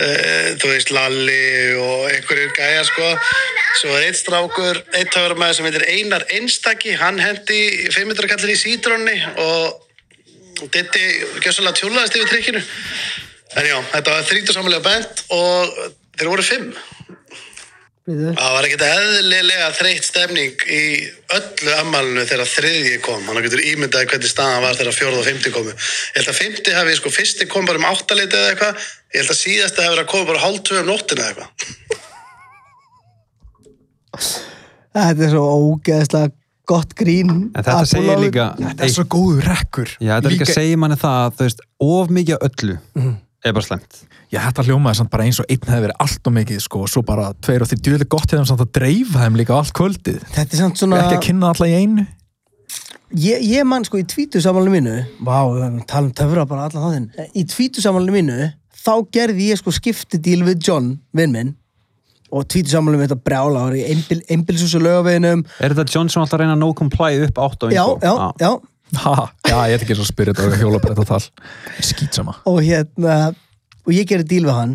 Speaker 4: uh, þú veist Lalli og einhverjir gæja, sko. Svo var einn strákur, einn töframæður sem heitir Einar Einstaki. Hann hendi 500 kallir í sítrunni og Ditti gjössalega tjúlaðist yfir trikkinu. En já, þetta var þrítur samanlega bent og þeir voru fimm.
Speaker 1: Veitu?
Speaker 4: Það var ekkert eðlilega þreytt stemning í öllu ammálinu þegar þriðji kom. Þannig getur ímyndaði hvernig staðan var þegar fjórð og fymti komu. Ég held að fymti hafi, sko, fyrsti kom bara um áttaleiti eða eitthvað. Ég held að síðasta hafi verið að koma bara hálf tvö um nóttina eða eitthvað.
Speaker 1: þetta er svo ógeðslega gott grín
Speaker 3: En þetta
Speaker 1: að
Speaker 3: segir
Speaker 1: Ólafur-
Speaker 3: líka
Speaker 2: Þetta er svo góður rekkur
Speaker 3: Já, þetta líka segir manni það að, þú veist, of mikið af öllu er bara slæmt
Speaker 2: Já, þetta hljómaði samt bara eins og einn hefði verið allt og mikið sko, og svo bara tveir og því djúlega gott hefðum samt að dreifa þeim líka á allt kvöldið
Speaker 1: þetta er samt svona
Speaker 2: ekki að kynna alla í einu
Speaker 1: Ég, ég man sko í tvítusamálinu mínu Vá, við erum að tala um töfra bara allan þáttinn Í tvítusamálinu mínu Þá gerði ég sko skiptidíl við John Vinn minn Og tvítusamálinu mitt að brjála Það var í einbil, einbilshús og laugaveginum
Speaker 3: Er þetta John sem alltaf að reyna að no comply upp átt á
Speaker 1: Já,
Speaker 3: info?
Speaker 1: já, já
Speaker 2: ha, Já, ég er ekki svo spirit og hjólabretta tal Skýtsama
Speaker 1: Og hérna Og ég gerði díl við hann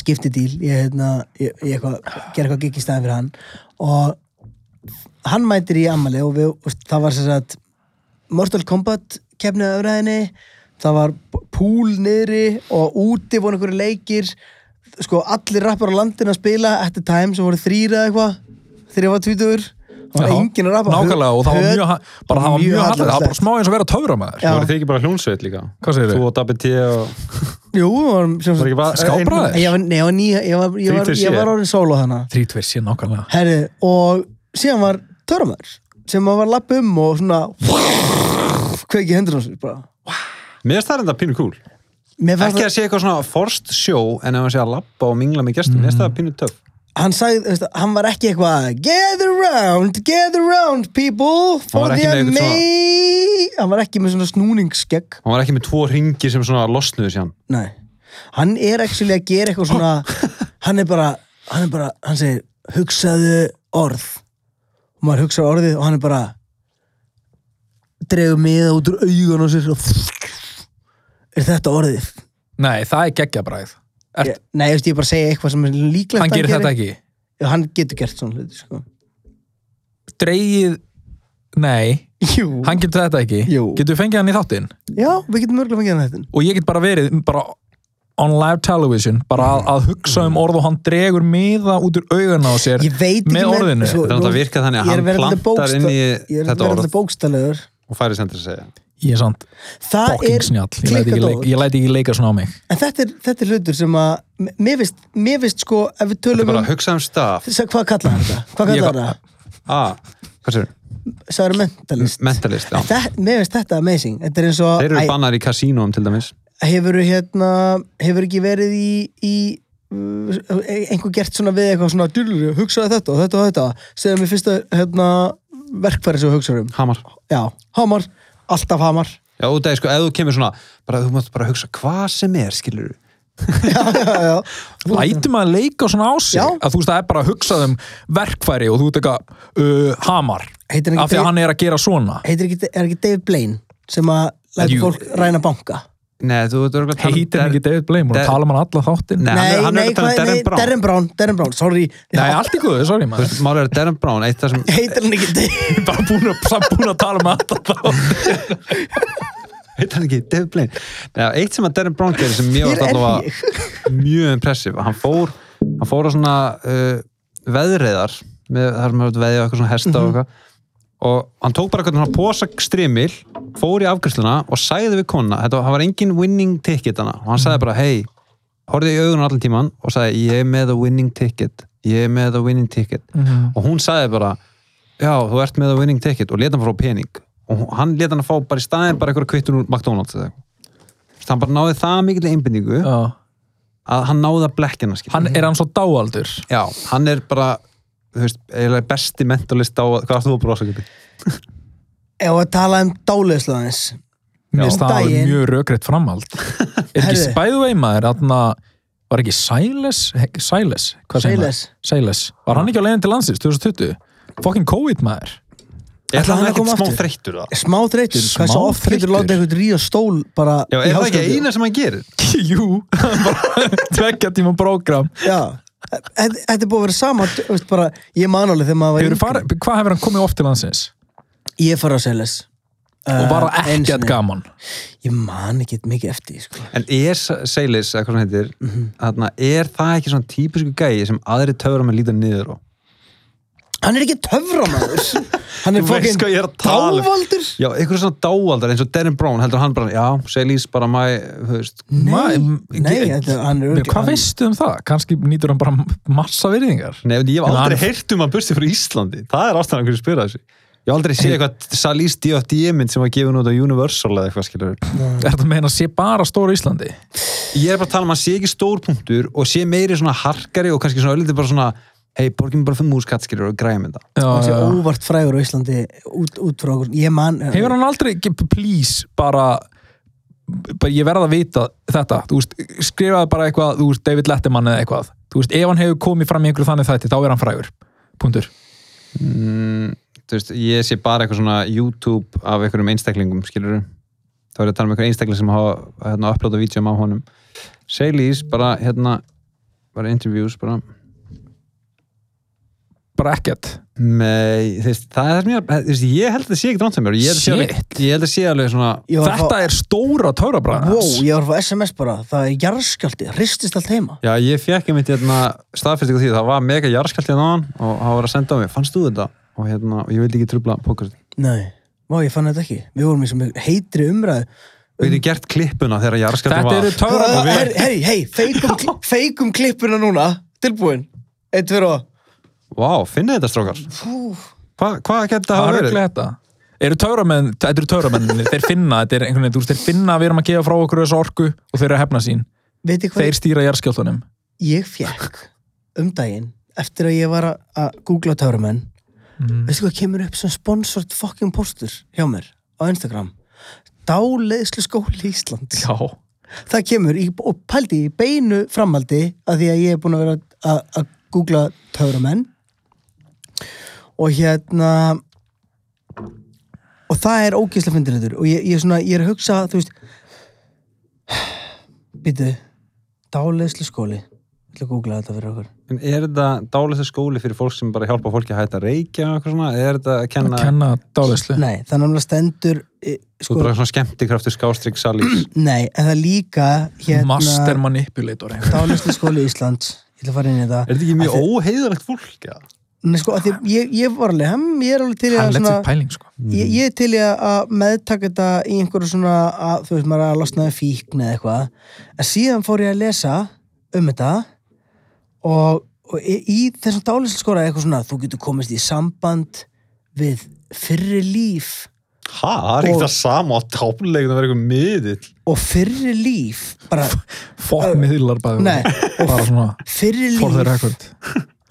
Speaker 1: Skiptidíl Ég, hérna, ég, ég eitthvað, gerði eitthvað gikk í staðin fyrir hann Og hann mætir í ammali Og, við, og það var sér að Mortal Kombat kefnið öfraðinni það var púl niðri og úti voru einhverju leikir sko allir rappar á landinu að spila at the time sem voru þrýra eða eitthvað þegar ég var tvítur það var enginn að rappa
Speaker 2: Nákvæmlega, og það var
Speaker 1: Höt-
Speaker 2: mjög, ha- bara, það var mjög hallar, það var bara smá eins og vera töframæður
Speaker 1: Já.
Speaker 3: Voru þið ekki bara hljónsveit líka?
Speaker 2: Hvað segirðu?
Speaker 3: Þú og Dabbi T og...
Speaker 1: Jú, það var sem
Speaker 3: Var ekki
Speaker 1: sagt
Speaker 3: bara...
Speaker 2: Skábræður?
Speaker 1: ég var, nei, ég var, ný, ég var, ég var, ég
Speaker 3: Þrítugur sé.
Speaker 1: var orðin solo þannig
Speaker 2: Þrítvir síðan nákvæmlega
Speaker 1: Herri, og síðan var törmar sem að var lapp um og svona kveiki hendur hans bara
Speaker 3: Mér finnst það reynda pínu kúl
Speaker 1: Mér fannst
Speaker 3: Ekki að sé eitthvað svona forst sjó en ef hann sé að lappa og mingla með gestum Mér finnst það pínu töf
Speaker 1: hann sagði, þú veist, hann var ekki eitthvað gather round, gather round people for
Speaker 3: var
Speaker 1: the
Speaker 3: ekki með eitthvað
Speaker 1: amazing hann var ekki með svona snúningsskegg
Speaker 3: Hann var ekki með tvo ringi sem svona losnuðu sér
Speaker 1: nei, hann er ekki að gera eitthvað svona hann er bara, hann er bara, hann segir hugsaðu orð og maður hugsaði orðið og hann er bara dregur miða út úr augun og sér og er þetta orðið?
Speaker 2: Nei, það er geggjabræð
Speaker 1: Ég, nei, ég veist, ég bara segja eitthvað sem er líklegt
Speaker 2: Hann
Speaker 1: að
Speaker 2: gerir
Speaker 1: geri.
Speaker 2: þetta ekki
Speaker 1: Já, hann getur gert svona hluti, sko
Speaker 2: Dreigið, nei
Speaker 1: Jú,
Speaker 2: Hann getur þetta ekki
Speaker 1: Jú.
Speaker 2: Getur fengið hann í þáttinn
Speaker 1: já, við getum mörgulega fengið hann þetta
Speaker 2: og ég get bara verið bara on live television bara að, að hugsa um orð og hann dregur miða út úr auðuna á sér
Speaker 1: ég veit ekki
Speaker 2: með orðinu
Speaker 1: sko,
Speaker 3: Þetta er náttúrulega
Speaker 1: nú-
Speaker 3: virkað þannig að
Speaker 1: ég er
Speaker 3: hann
Speaker 1: verðandi
Speaker 3: plantar
Speaker 1: bóksta-
Speaker 3: inn í
Speaker 1: ég er
Speaker 3: þetta
Speaker 1: verðandi
Speaker 3: orð.
Speaker 1: bókstalegur
Speaker 3: og færið sendur að segja
Speaker 2: ég er sant
Speaker 1: það
Speaker 2: fucking
Speaker 1: er
Speaker 2: snjall ég læt, ekki leika,
Speaker 1: klikkadót
Speaker 2: ég læt ekki leika svona á mig
Speaker 1: en þetta er, þetta er hlutur sem að m- mér finnst, mér finnst sko ef við
Speaker 3: Þetta er
Speaker 1: tölum
Speaker 3: bara
Speaker 1: um
Speaker 3: að hugsa um staf
Speaker 1: Sa- hvað kallaði hann þetta? hvað
Speaker 2: Ég-
Speaker 1: kallaði hann þetta?
Speaker 3: ah, Hvað sér?
Speaker 1: sagður mentalist
Speaker 3: Mentalist, já
Speaker 1: Þa- mér finnst þetta amazing þetta er eins
Speaker 3: Þeir eru
Speaker 1: og
Speaker 3: bannar í kasínum til dæmis
Speaker 1: hefur hérna hefur ekki verið í, í uh, einhver gert svona við eitthvað svona djúlur, hugsaði þetta og þetta og þetta segðu mér fyrsta hérna verkfæri sem við hugsaðum
Speaker 3: Hamar
Speaker 1: já, hamar, alltaf hamar
Speaker 3: Já, út af, sko, ef þú kemur svona bara, þú mátt bara hugsa hvað sem er, skilur
Speaker 2: lætum að leika svona á sig
Speaker 1: Já.
Speaker 2: að þú veist það er bara að hugsa um verkfæri og þú ert eitthvað uh, hamar
Speaker 1: Heitir hann ekki
Speaker 2: af því
Speaker 1: Dave-
Speaker 2: að hann er að gera svona
Speaker 1: heitir ekki, er ekki David Blaine sem að læta
Speaker 2: Jú.
Speaker 1: fólk ræna banka
Speaker 3: Nei, þú veit örgulega
Speaker 2: heitir hann ekki David Blaine og
Speaker 3: Der-
Speaker 2: tala um hann alla þáttin
Speaker 3: Nei,
Speaker 2: nei,
Speaker 3: hann er-
Speaker 1: Nei,
Speaker 3: hann er
Speaker 1: nei,
Speaker 3: að tala um
Speaker 1: hvað- nei,
Speaker 3: Darren Brown.
Speaker 1: Derren Brown, Derren Brown, sorry
Speaker 2: allt í guðu, sorry
Speaker 3: Þú
Speaker 2: maður
Speaker 3: veist, Málið er að Darren Brown, eitt það sem
Speaker 1: Heitir hann ekki Derren
Speaker 2: *laughs* bara búin að, samt búin að tala um alla *laughs* þáttin
Speaker 3: heitir hann ekki David Blaine Nei, eitt sem að Darren Brown gerir sem mjög
Speaker 1: Hér er
Speaker 3: allavega mjög impressiv hann fór, hann fór á svona uh, veðreiðar með, þar sem hann veðið eitthvað svona hesta og eitthvað og hann tók bara eitthvað svona posa strimil fór í afgriðsluna og sagði við kona þetta hann var engin winning ticket hana og hann sagði bara hei, horfði í augun allan tíman og sagði ég er með a winning ticket ég er með a winning ticket og hún sagði bara já, þú ert með a winning ticket og leta hann fá pening og hún- hann leta hann fá bara í staðin bara eitthvað kvittur úr McDonalds eða eitthvað Þess, hann bara náði það mikil einbindingu að hann náði að blekkina skil
Speaker 2: hann er hann svo dáaldur
Speaker 3: já, hann er bara þú veist, eiginlega besti mentalist á hvað er þú að brosa ekki
Speaker 1: Ef að tala um dálisluðans
Speaker 2: mér finnst það alveg
Speaker 1: Daginn.
Speaker 2: mjög
Speaker 1: *laughs*
Speaker 2: rökrétt framhald er ekki
Speaker 1: Herðu.
Speaker 2: spæðvei maður atna, var ekki Silas He- Silas, hvað segir maður? Silas, var hann ekki á leiðin til landsins 2020 fucking COVID maður *laughs*
Speaker 3: er
Speaker 1: Ætlar hann
Speaker 3: hann
Speaker 1: að
Speaker 3: ekkert
Speaker 1: koma
Speaker 3: smá
Speaker 1: aftur?
Speaker 3: þreyttur það
Speaker 1: Smá þreytur, hvað er
Speaker 2: Smá
Speaker 1: svo oft
Speaker 2: þreyttur?
Speaker 1: þreytur Láta eitthvað ríða stól bara
Speaker 3: já,
Speaker 1: í
Speaker 3: er það ekki
Speaker 1: hálskoti?
Speaker 3: eina sem hann gerir
Speaker 2: jú, *laughs* bara tveggja tíma prógram
Speaker 1: Já, þetta þetta er búið að vera sama þú veist, bara, Ég man alveg þegar maður var
Speaker 2: Hefurðu
Speaker 1: yngri.
Speaker 2: farið- hvað hefur hann komið oft til landsins
Speaker 1: Ég fara á Seles
Speaker 2: og var það
Speaker 1: Uh, einu
Speaker 2: ekkert
Speaker 1: sinni.
Speaker 2: gaman
Speaker 1: Ég man ekki mikið eftir því, sko.
Speaker 3: en er Seilis, eða hvað hann heitir
Speaker 1: Mhm.
Speaker 3: þarna, er það ekki svona típisku gæi sem aðri töfra með líta niður á
Speaker 1: Hann er ekki töframæður
Speaker 3: *laughs*
Speaker 1: Hann er
Speaker 3: Þú veist hvað ég er að tala um.
Speaker 1: dávaldur
Speaker 3: Já, einhverjum svona dáaldar eins og Darren Brown heldur hann bara, já, Selís bara mæ, þú veist,
Speaker 1: Nei,
Speaker 2: Ma-
Speaker 1: nei
Speaker 2: ge-
Speaker 1: þetta, hann er
Speaker 2: Nei,
Speaker 1: örugglega-
Speaker 2: hvað veistu um það? Kannski nýtur hann bara massa virðingar
Speaker 3: Nei, en ég hef
Speaker 2: En
Speaker 3: aldrei
Speaker 2: hann-
Speaker 3: heyrt um að busti frá Íslandi. Það er ástæðan hverju spyrða þessu. Ég hef aldrei séð eitthvað Salís D.O.D. E mynd sem var gefin út á Universal eða eitthvað skilur.
Speaker 2: Er þetta meina að sé bara stóra Íslandi?
Speaker 3: Ég er bara að tala um að sé ekki stórpunktur og sé meiri svona harkari og kannski svona öllítið bara svona hei, borgin bara fimm úrskatt skilur og græmi þetta.
Speaker 2: Já,
Speaker 1: Hann sé
Speaker 2: já.
Speaker 1: óvart frægur á Íslandi út, út frá okkur Ég man
Speaker 2: Hefur hann aldrei, ge- please, bara, bara ég verða að vita þetta, þú veist, skrifaði bara eitthvað, þú veist, David Letterman eða eitthvað þú veist, ef hann hefur komið fram í einhverju þannig þætti þá er hann frægur, punktur
Speaker 3: Mm, Þú veist, ég sé bara eitthvað svona YouTube af einhverjum einstaklingum skilur. Það er að tala um einhverjum einstakling sem hafa hérna, upplóta vídjum á honum. Salís bara hérna, bara interviews bara
Speaker 2: bara ekkert,
Speaker 3: Nei, þú veist, það er það sem ég, þú veist, ég held að það sé ekki rámt sem mér ég held að sé alveg,
Speaker 2: Shit.
Speaker 3: ég held að sé alveg svona
Speaker 1: Ég var að
Speaker 2: þetta er stóra
Speaker 1: fá,
Speaker 2: törabræðan
Speaker 1: Wow, ég var að fá SMS bara Það er jarðskjálti, hristist allt heima
Speaker 3: já, ég fekk einmitt hérna staðfestingu á því, það var mega jarðskalt hérna á hann og hann var að senda á mig, fannst þú þetta? og hérna, og ég vildi ekki trubla pókast
Speaker 1: Nei, má ég fann þetta ekki Við vorum í sem heitri umræðu
Speaker 3: við hefði gert klippuna þegar jarðskaltin
Speaker 2: þetta
Speaker 3: var
Speaker 2: eru
Speaker 1: Hei,
Speaker 2: törabræðan
Speaker 1: hei, hei, feikum,
Speaker 2: *laughs*
Speaker 1: kli- feikum klippuna núna Tilbúin, eitt fyrir og
Speaker 3: Vá, finna þetta strókar
Speaker 1: Fú,
Speaker 3: Hva, hvað getur þetta
Speaker 2: það
Speaker 3: hafa
Speaker 2: er
Speaker 3: verið?
Speaker 2: örugglega þetta eru töramenn, þetta eru töramenn *laughs* þeir finna, þetta er einhvern veginn, þú veist, þeir finna að við erum að gefa frá okkur þessu orku og þeir eru að hefna sín
Speaker 1: veitir hvað
Speaker 2: þeir stýra jarðskjáltunum
Speaker 1: ég fekk um daginn eftir að ég var að- að googla töramenn veistu hvað kemur upp sem sponsored fucking postur hjá mér á Instagram dáleiðslu skóli Íslands
Speaker 2: já,
Speaker 1: það kemur í, og pældi í beinu framhaldi að því að ég er búin að vera að, að googla töramenn og hérna og það er ógeðslega fyndinleitur og ég, ég, er svona, ég er að hugsa þú veist býtu dáleiðslu skóli ég ætla að googla þetta fyrir okkur
Speaker 3: En er þetta dálæsta skóli fyrir fólk sem bara hjálpa fólki að hætta að reykja og eitthvað svona, eða er þetta að kenna,
Speaker 2: kenna dálislu
Speaker 1: Nei, það er náttúrulega stendur eh,
Speaker 3: þú
Speaker 1: sko,
Speaker 3: er bara svona skemmtikraftur skástrík salís
Speaker 1: Nei, en það er líka
Speaker 2: master
Speaker 1: hérna,
Speaker 2: manipulator einhver.
Speaker 1: Dálislu skóli Íslands Ég ætla að fara inn í
Speaker 3: *clears throat* er
Speaker 1: þetta
Speaker 3: þetta ekki mjög óheiðalegt fólk? Ja?
Speaker 1: Nei, sko, af því, ég, ég var alveg hem, ég er alveg til í
Speaker 2: hann
Speaker 1: að
Speaker 2: lett sér
Speaker 1: hérna svona,
Speaker 2: pæling sko
Speaker 1: ég, ég er til í að- að meðtaka þetta í einhverju svona að, þú veist, maður er að losna við fíkn eða eitthvað en síðan fór ég að lesa um þetta og, og í, í þessum dálislu skóla er eitthvað svona þú getur komist í samband við fyrri líf
Speaker 3: Hæ, það er ekkert það sama á tálegin að vera eitthvað miðill.
Speaker 1: og fyrri líf
Speaker 2: *laughs*
Speaker 1: bara,
Speaker 2: fokk miðlar bæði
Speaker 1: nei,
Speaker 2: bara svona
Speaker 1: fyrri
Speaker 2: for the
Speaker 1: líf
Speaker 2: record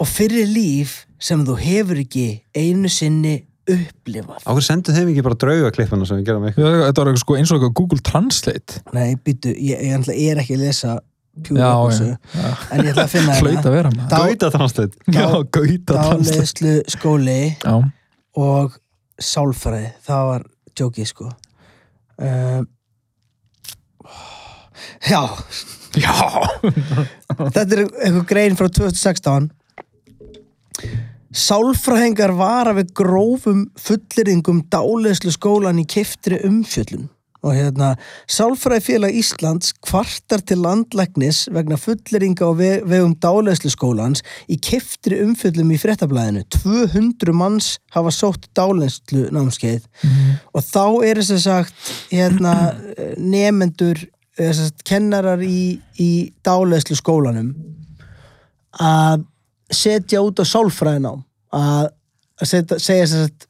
Speaker 1: og fyrir líf sem þú hefur ekki einu sinni upplifað
Speaker 3: Ákveð sendu þeim ekki bara draugaklippuna sem við gerum eitthvað.
Speaker 2: þetta var eitthvað sko eins og eitthvað Google Translate
Speaker 1: Nei, býtu, ég, ég, ætla, ég er ekki að lesa Pure
Speaker 2: Já,
Speaker 1: Records
Speaker 2: já,
Speaker 1: en ég ætla að
Speaker 2: *laughs*
Speaker 1: finna hérna.
Speaker 2: hlaut að vera
Speaker 1: Dá-
Speaker 2: maður
Speaker 3: Gauta transleit.
Speaker 2: já, gauta Translate
Speaker 1: dáleðslu skóli
Speaker 2: já,
Speaker 1: og sálfræði það var djókið sko um, Ehm, Já,
Speaker 2: Já.
Speaker 1: þetta er eitthvað grein frá 2016 Sálfræðingar vara við grófum fullyrðingum dáleðslu skólan í kiftri umfjöllun og hérna Sálfræðifélag Íslands kvartar til landlæknis vegna fullyrðinga á ve- vegum dáleðslu skólans í kiftri umfjöllum í fréttablaðinu 200 manns hafa sótt dáleðslu námskeið og þá eru sem sagt hérna *clears throat* nefendur eh, sem sagt, kennarar í, í dáleðslu skólanum að setja út á sálfræðinám að, að setja, segja sem sagt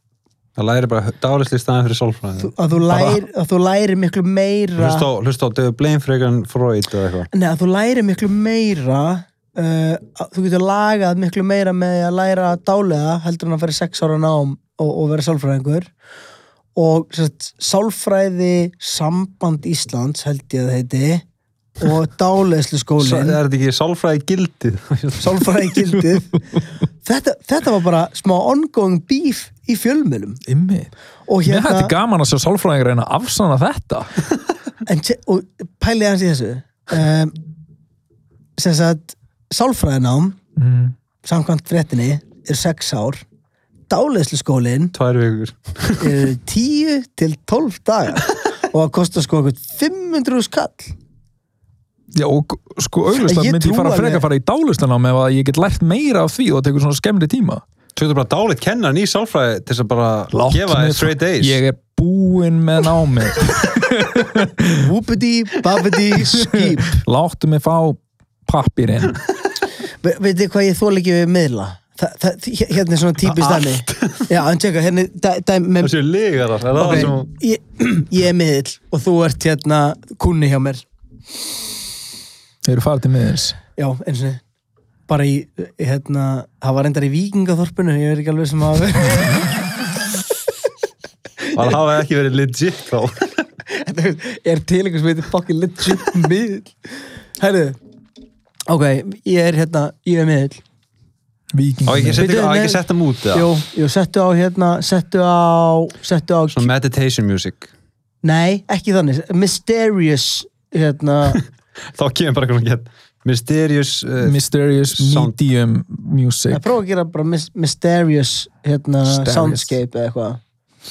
Speaker 3: Það læri bara dálisli staðan fyrir sálfræði.
Speaker 1: að þú, læri, að þú læri miklu meira
Speaker 3: Hlusta á, hlusta á David Blaine frekar en Freud eða eitthvað.
Speaker 1: Nei, að þú læri miklu meira uh, að þú getur lagað miklu meira með því að læra dálega heldur en að fyrir sex ára nám og, og vera sálfræðingur og sem sagt, sálfræði samband Íslands held ég að það heiti
Speaker 3: *laughs*
Speaker 1: og dáleðslu
Speaker 3: Sa-
Speaker 1: skólin
Speaker 3: Er þetta ekki sálfræði gildið? *laughs*
Speaker 1: sálfræði gildið þetta, þetta var bara smá ongoing beef í fjölmjölum
Speaker 2: Immi.
Speaker 1: og
Speaker 2: Mér þetta er
Speaker 1: hérna
Speaker 2: gaman að sjá sálfræðingur reyna að afsanna þetta.
Speaker 1: en, te- og pælið hans í þessu um, sem sagt sálfræðinám
Speaker 2: Mm.
Speaker 1: samkvæmt fréttinni er sex ár dáleðslu skólin
Speaker 3: Tvær vikur.
Speaker 2: *laughs*
Speaker 1: er 10 til 12 dagar og það kostar sko okkur 500 skall
Speaker 2: Já, og sko
Speaker 1: Ég
Speaker 2: auglust að myndi ég
Speaker 1: trúi
Speaker 2: fara
Speaker 1: alveg-
Speaker 2: frekar að fara í dálustanám ef að ég get lært meira af því og það tekur svona skemmri tíma.
Speaker 3: Svo þetta bara dálit kennan í sálfræði til þess að bara
Speaker 2: Láttu
Speaker 3: gefa
Speaker 2: mig
Speaker 3: þér straight A's.
Speaker 2: Ég er búinn með námið.
Speaker 1: whoopity babbity
Speaker 2: *laughs*
Speaker 1: skip
Speaker 2: Láttu mig fá pappirinn.
Speaker 1: Ve veitir hvað ég þól ekki við miðla Þa, það, hér- hérna er svona típist dæmi *laughs* já, en tjekka, hérna er dæ, dæmi með,
Speaker 3: Það séu lígar það. er það
Speaker 1: Ok,
Speaker 3: sem
Speaker 1: ég, ég *clears throat* er miðl og þú ert hérna kunni hjá mér
Speaker 2: Þeir eru farið til miðins.
Speaker 1: já, eins og niður bara í, hérna, það var endar í vikingaþorpinu ég er ekki alveg sem að *laughs*
Speaker 3: Það hafa ekki verið legit þá.
Speaker 1: Þú veist, er til einhver sem heitir fucking legit miðl Herðu Ok, ég er hérna, ég er miðl
Speaker 3: Á ekki að
Speaker 2: Vikingin.
Speaker 3: setja-
Speaker 1: Bíddu,
Speaker 3: á
Speaker 1: nei.
Speaker 3: ekki að setja mút það.
Speaker 1: Jú, jú, settu á hérna, settu á Settu á,
Speaker 3: Svona meditation music.
Speaker 1: nei, ekki þannig Mysterious, hérna
Speaker 3: Þá kemur bara eitthvað gett. Mysterious uh,
Speaker 2: Mysterious
Speaker 3: Sound.
Speaker 2: Medium Music.
Speaker 1: Ég prófa að gera bara mis Mysterious, hérna
Speaker 2: Mysterious.
Speaker 1: Soundscape eða eitthvað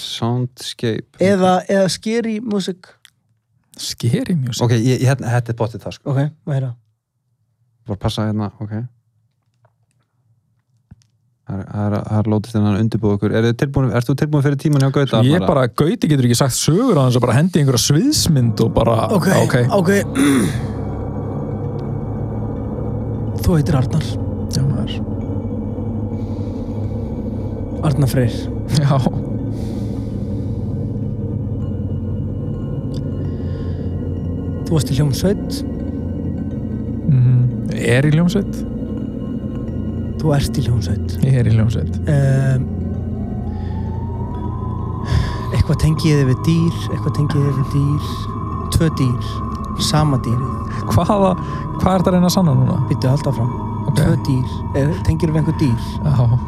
Speaker 3: soundscape.
Speaker 1: Eða, eða scary music
Speaker 2: Scary Music.
Speaker 3: Ok, ég, ég, hérna- þetta er bóttið það sko.
Speaker 1: Ok, maður hérna
Speaker 3: bara passa hérna, ok það er- það er- það er hérna lótist en hann undirbúið okkur er tilbúin, ert þú tilbúin fyrir tíman hjá Gauta?
Speaker 2: Ég bara, Gauti getur ekki sagt sögur á hans að bara hendi í einhverja sviðsmynd og bara,
Speaker 1: Ok, ok, *clears throat* Þú heitir Arnar
Speaker 2: Já, maður.
Speaker 1: Arnar Freyr
Speaker 2: Já.
Speaker 1: Þú varst í hljómsveit
Speaker 2: Mm. Er í ljómsveit?
Speaker 1: Þú ert í hljómsveit
Speaker 2: Ég er í ljómsveit.
Speaker 1: um, eitthvað tengi ég þið við dýr eitthvað tengi ég þið við dýr tvö dýr, sama dýrið
Speaker 2: Hvaða, hvað er það að reyna að sanna núna?
Speaker 1: byttu að halda fram
Speaker 2: Ok.
Speaker 1: tvö dýr, eða tengir við einhver dýr
Speaker 2: Já.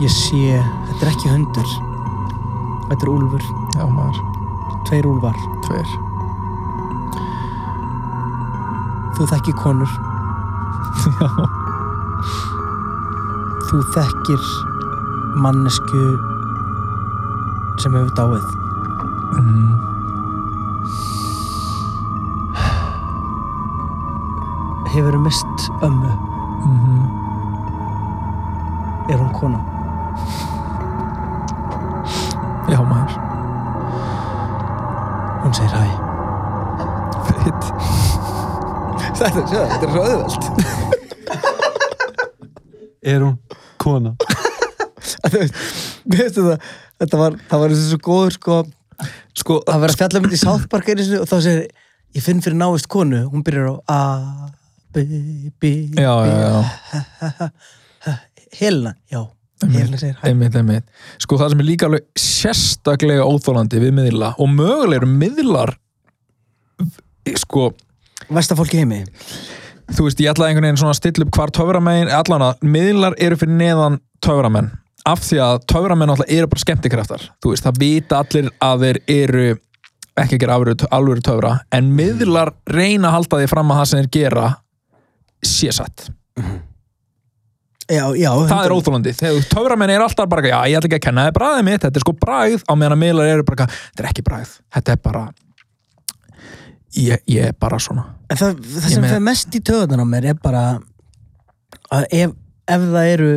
Speaker 1: ég sé, þetta er ekki hundur þetta er úlfur,
Speaker 2: Já, maður.
Speaker 1: tveir úlfar
Speaker 2: Tveir.
Speaker 1: þú þekkir konur
Speaker 2: Já.
Speaker 1: þú þekkir mannesku sem hefur dáið
Speaker 2: Mm.
Speaker 1: hefur mist ömmu
Speaker 2: Mm
Speaker 1: er hún kona
Speaker 2: Já, maður.
Speaker 1: hún segir hæ
Speaker 2: Fritt.
Speaker 1: þetta, þetta er svo auðvelt
Speaker 3: er hún kona
Speaker 1: Þú veist, mér finnst þetta, þetta var, það var eins og svo góður sko, sko það var að fjalla myndi í South Park einu sinni og þá segir ég finn fyrir návist konu, hún byrjar á a, b, b, b
Speaker 2: Já, já, já.
Speaker 1: Helena, já, Helena segir hæ
Speaker 2: Einmitt, einmitt. Sko það sem er líka alveg sérstaklega óþólandi við miðla og mögulega eru miðlar sko,
Speaker 1: Vesta fólki í heimi
Speaker 2: þú veist, ég ætlaði einhvern veginn svona að stilla upp hvar töframegin, allan að miðlar eru fyrir neðan töframenn af því að töframenn alltaf eru bara skemmtikraftar þú veist, það vita allir að þeir eru ekki að gera alvöru, alvöru töfra en miðlar reyna að halda því fram að það sem þeir gera sé satt
Speaker 1: já, já
Speaker 2: það er óþólandi, þegar töframenn er alltaf bara, já, ég ætla ekki að kenna þið bræðið mitt þetta er sko bræð, á meðan að miðlar eru bara þetta er ekki bræð, þetta er bara ég, ég er bara svona
Speaker 1: En það, það
Speaker 2: Ég
Speaker 1: sem
Speaker 2: meina-
Speaker 1: fer mest í töðunar á mér er bara að ef, ef það eru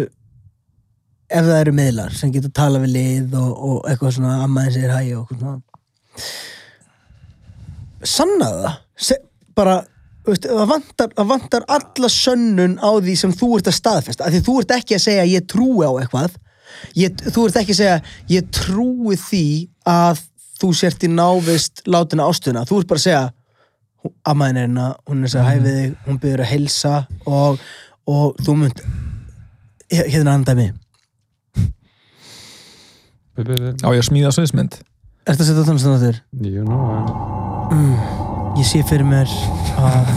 Speaker 1: ef það eru miðlar sem getur tala við lið og, og eitthvað svona ammaðin segir hæ og eitthvað svona sanna það Se, bara þú veist, það vantar, það vantar alla sönnun á því sem þú ert að staðfesta af því þú ert ekki að segja ég trúi á eitthvað ég, þú ert ekki að segja ég trúi því að þú sért í návist látina ástuna þú ert bara að segja ammaðin er hérna, hún er að segja hæ við þig hún byrður að heilsa og, og þú munt Hér- hérna andaði mig,
Speaker 2: á ég að smíða sviðsmynd
Speaker 1: ertu að setja tónlistan áttur?
Speaker 3: You know
Speaker 1: ég sé fyrir mér að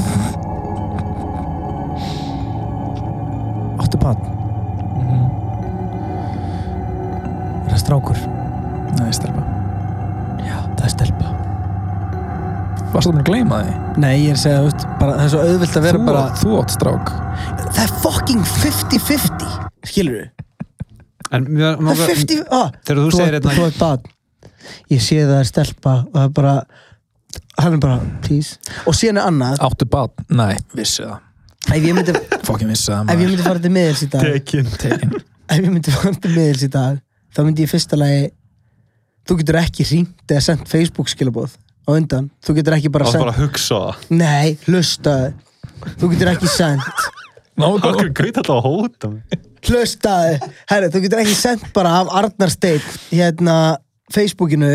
Speaker 1: áttu bann Mhm. er það strákur?
Speaker 2: nei, stelpa,
Speaker 1: já, það er stelpa
Speaker 2: varstu að mér að gleyma því
Speaker 1: nei, ég er að segja, þú veist, bara, það er svo auðvilt að vera
Speaker 2: þú,
Speaker 1: bara
Speaker 2: þú átt strák
Speaker 1: það er fucking 50-50 skilur þú?
Speaker 3: En mér
Speaker 1: það
Speaker 3: langar-
Speaker 1: er 50 ah,
Speaker 3: Þegar þú segir
Speaker 1: þú
Speaker 3: hérna
Speaker 1: ert bann ég sé það er stelpa og það er bara hann er bara, please og síðan er annað,
Speaker 2: Áttu bát? Nei, vissi það
Speaker 1: ef ég
Speaker 3: *laughs*
Speaker 1: myndi ef
Speaker 2: Fokkin vissi það
Speaker 1: ég myndi fara til miðils í dag
Speaker 2: Tekin Tekin
Speaker 1: ef ég myndi fara til miðils í dag þá myndi ég fyrsta lagi þú getur ekki hringt eða sendt Facebook skilabóð á undan, þú getur ekki bara sendt
Speaker 3: að hugsa
Speaker 1: nei, hlustaðu þú getur ekki sendt
Speaker 2: Nó, góð
Speaker 3: greit alltaf að hóta
Speaker 1: hlustaðu, herri, þú getur ekki sendt bara af Arnar Steinn hérna Facebookinu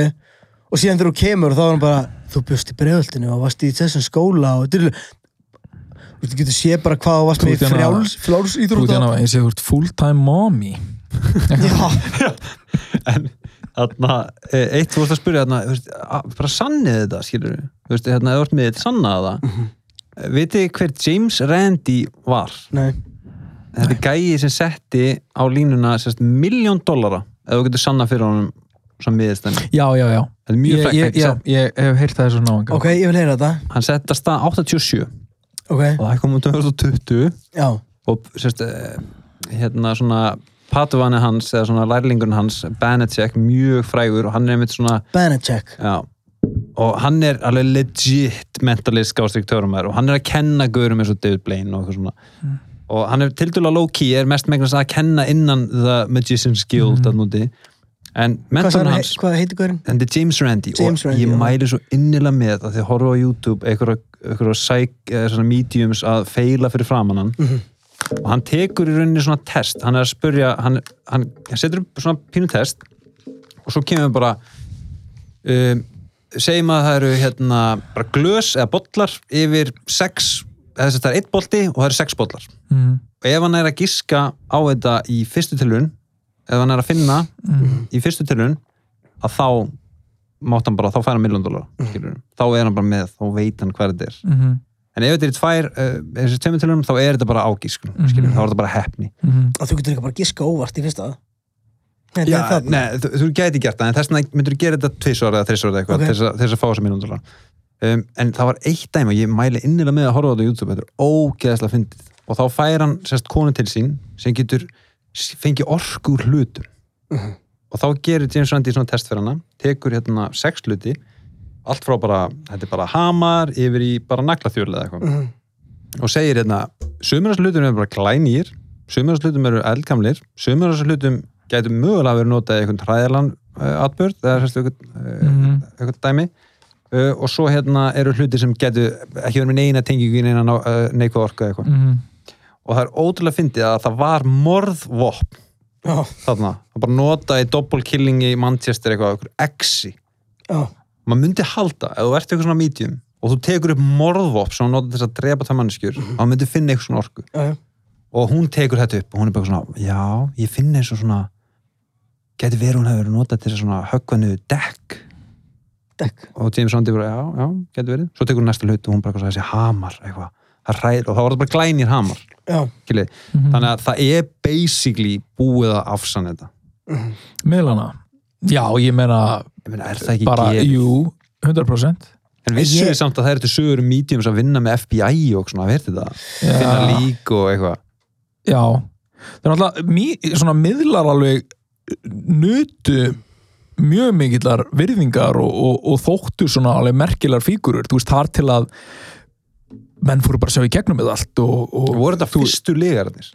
Speaker 1: og síðan þegar þú kemur þá er hann bara þú bjóst í bregöldinu og varst í þessum skóla og dyrlu þú getur sé bara hvað þú varst
Speaker 2: Þú
Speaker 1: með
Speaker 2: ert
Speaker 1: í
Speaker 2: hérna-
Speaker 1: frjáls, fláls
Speaker 2: Þú
Speaker 1: íþrótt
Speaker 2: tjána, ég sé þú ert hérna full-time mommy
Speaker 1: já,
Speaker 3: En þarna, e, eitt þú vorst að spyrja þarna, þú veist, að- bara sannið þetta skilur þú veist, hérna, eða vart með þetta sannað það mm vitið þið hver James Randi var
Speaker 1: nei,
Speaker 3: þetta er gæi sem setti á línuna sérst miljón dollara ef þú getur sannað fyrir honum sem miðist þeim
Speaker 2: Já, já, já
Speaker 3: þetta er mjög
Speaker 2: Ég,
Speaker 3: frækt,
Speaker 2: ég,
Speaker 3: ekki
Speaker 2: ég,
Speaker 3: satt?
Speaker 2: ég hef heyrt það þessu náðan
Speaker 1: ok, ég vil heyra þetta
Speaker 3: hann setti að stað 87
Speaker 1: ok,
Speaker 3: og það kom um 2020
Speaker 1: já,
Speaker 3: og sérst eh, hérna svona patuvani hans eða svona lærlingurinn hans Banacek mjög frægur og hann er einmitt svona
Speaker 1: Banachek
Speaker 3: Já. og hann er alveg legit mentalist skástrík törumæður og hann er að kenna gaurum eins og David Blaine og eitthvað svona
Speaker 1: Mm.
Speaker 3: og hann er tildurlega low-key er mest megnast að kenna innan The Magician's Guild mm. úti en
Speaker 1: Hvað
Speaker 3: mentan
Speaker 1: sagði-
Speaker 3: hans
Speaker 1: hvað heitir hverjum?
Speaker 3: en þetta er James Randi
Speaker 1: James
Speaker 3: og
Speaker 1: Randi,
Speaker 3: ég
Speaker 1: já.
Speaker 3: mæli svo innilega með að þið horfa á YouTube einhverja, einhverja psych, eh, svona mediums að feila fyrir framann hann
Speaker 1: Mhm.
Speaker 3: og hann tekur í rauninni svona test hann er að spurja, hann, hann, hann setur upp svona pínu test og svo kemur bara um, segjum að það eru hérna bara glös eða bollar yfir sex, eða þess að það er eitt bolti og það eru sex bollar
Speaker 2: mm.
Speaker 3: og ef hann er að giska á þetta í fyrstu tilun ef hann er að finna
Speaker 2: mhm,
Speaker 3: í fyrstu tilun að þá mátt hann bara, þá fær hann milljón dólar mm. þá er hann bara með, þá veit hann hver þetta er
Speaker 2: mm -hmm.
Speaker 3: en ef þetta er í tvær, uh, þessi tveimur tilunum þá er þetta bara ágísk, mm þá er þetta bara hefni
Speaker 2: mhm,
Speaker 1: og þú getur ekki bara giska óvart í fyrsta Nei,
Speaker 3: Já,
Speaker 1: það er það.
Speaker 3: nei, þú, þú gæti gert það en þess vegna myndur þú gera þetta tvisvar eða þrisvar eða eitthvað
Speaker 1: Ok.
Speaker 3: okay. þess, að- til þess að fá þessa mínúndalar um, en það var eitt dæmi og ég mæli innilega með að horfa á þetta á YouTube þetta er ógeðslega fyndið og þá fær hann sérst konu til sín sem getur s- fengið orku úr hlutum
Speaker 1: Mhm.
Speaker 3: og þá gerir James Randi svona test fyrir hana tekur hérna sex hluti allt frá bara, þetta er bara hamar yfir í bara naglaþjörlega eitthvað
Speaker 1: Mhm.
Speaker 3: og segir hérna sumur þessu hlutum eru bara glænýr sumur þessu hlutum eru eldgamlir sumur þessu hlutum gætu mögulega verið notað í einhvern hræðalan uh, atbörð eða sérst einhvern uh,
Speaker 2: Mhm.
Speaker 3: einhvern dæmi uh, og svo hérna eru hluti sem gætu ekki verið með neina tengingu í neina uh, neikvæð orku eða eitthvað
Speaker 2: Mm.
Speaker 3: og það er ótrúlega fyndið að það var morðvopn
Speaker 1: Já,
Speaker 3: þarna það bara notað í doppelkillingi í Manchester eitthvað, eitthvað exi
Speaker 1: já,
Speaker 3: maður myndi halda, ef þú ert eitthvað svona medium og þú tekur upp morðvopn sem hún notað til þess að drepa það mannskjur, mm maður myndi finna eitthvað svona orku
Speaker 1: já, já.
Speaker 3: og hún tekur þetta upp og hún er bara svona, já, ég finn eins og svona geti verið hún hefur notað til þess að svona höggva niður dekk
Speaker 1: Dekk.
Speaker 3: og James Rondi bara, já, já, geti verið svo tekur hún næsta hlut og hún bara eitthvað svona þessi hamar eitthvað, það ræður og þá var þetta bara glænir hamar
Speaker 2: Mhm.
Speaker 1: Já,
Speaker 3: kili. þannig að það er basically búið að afsann þetta
Speaker 2: Miðlana Já, ég meina
Speaker 3: ég meina, er það ekki
Speaker 2: bara,
Speaker 3: gefið?
Speaker 2: jú 100%
Speaker 3: En vissu
Speaker 1: Ég-
Speaker 3: þið samt að það eru til sögur um mediums að vinna með FBI og svona, að verði það?
Speaker 2: Já.
Speaker 3: Finna lík og eitthvað.
Speaker 2: Já, það er alltaf mý, svona miðlar alveg nutu mjög mikillar virðingar og, og, og þóttu svona alveg merkilar fígurur, þú veist, þar til að menn fóru bara að sjá í gegnum með allt og, og
Speaker 3: Voru þetta fyrstu legarnir?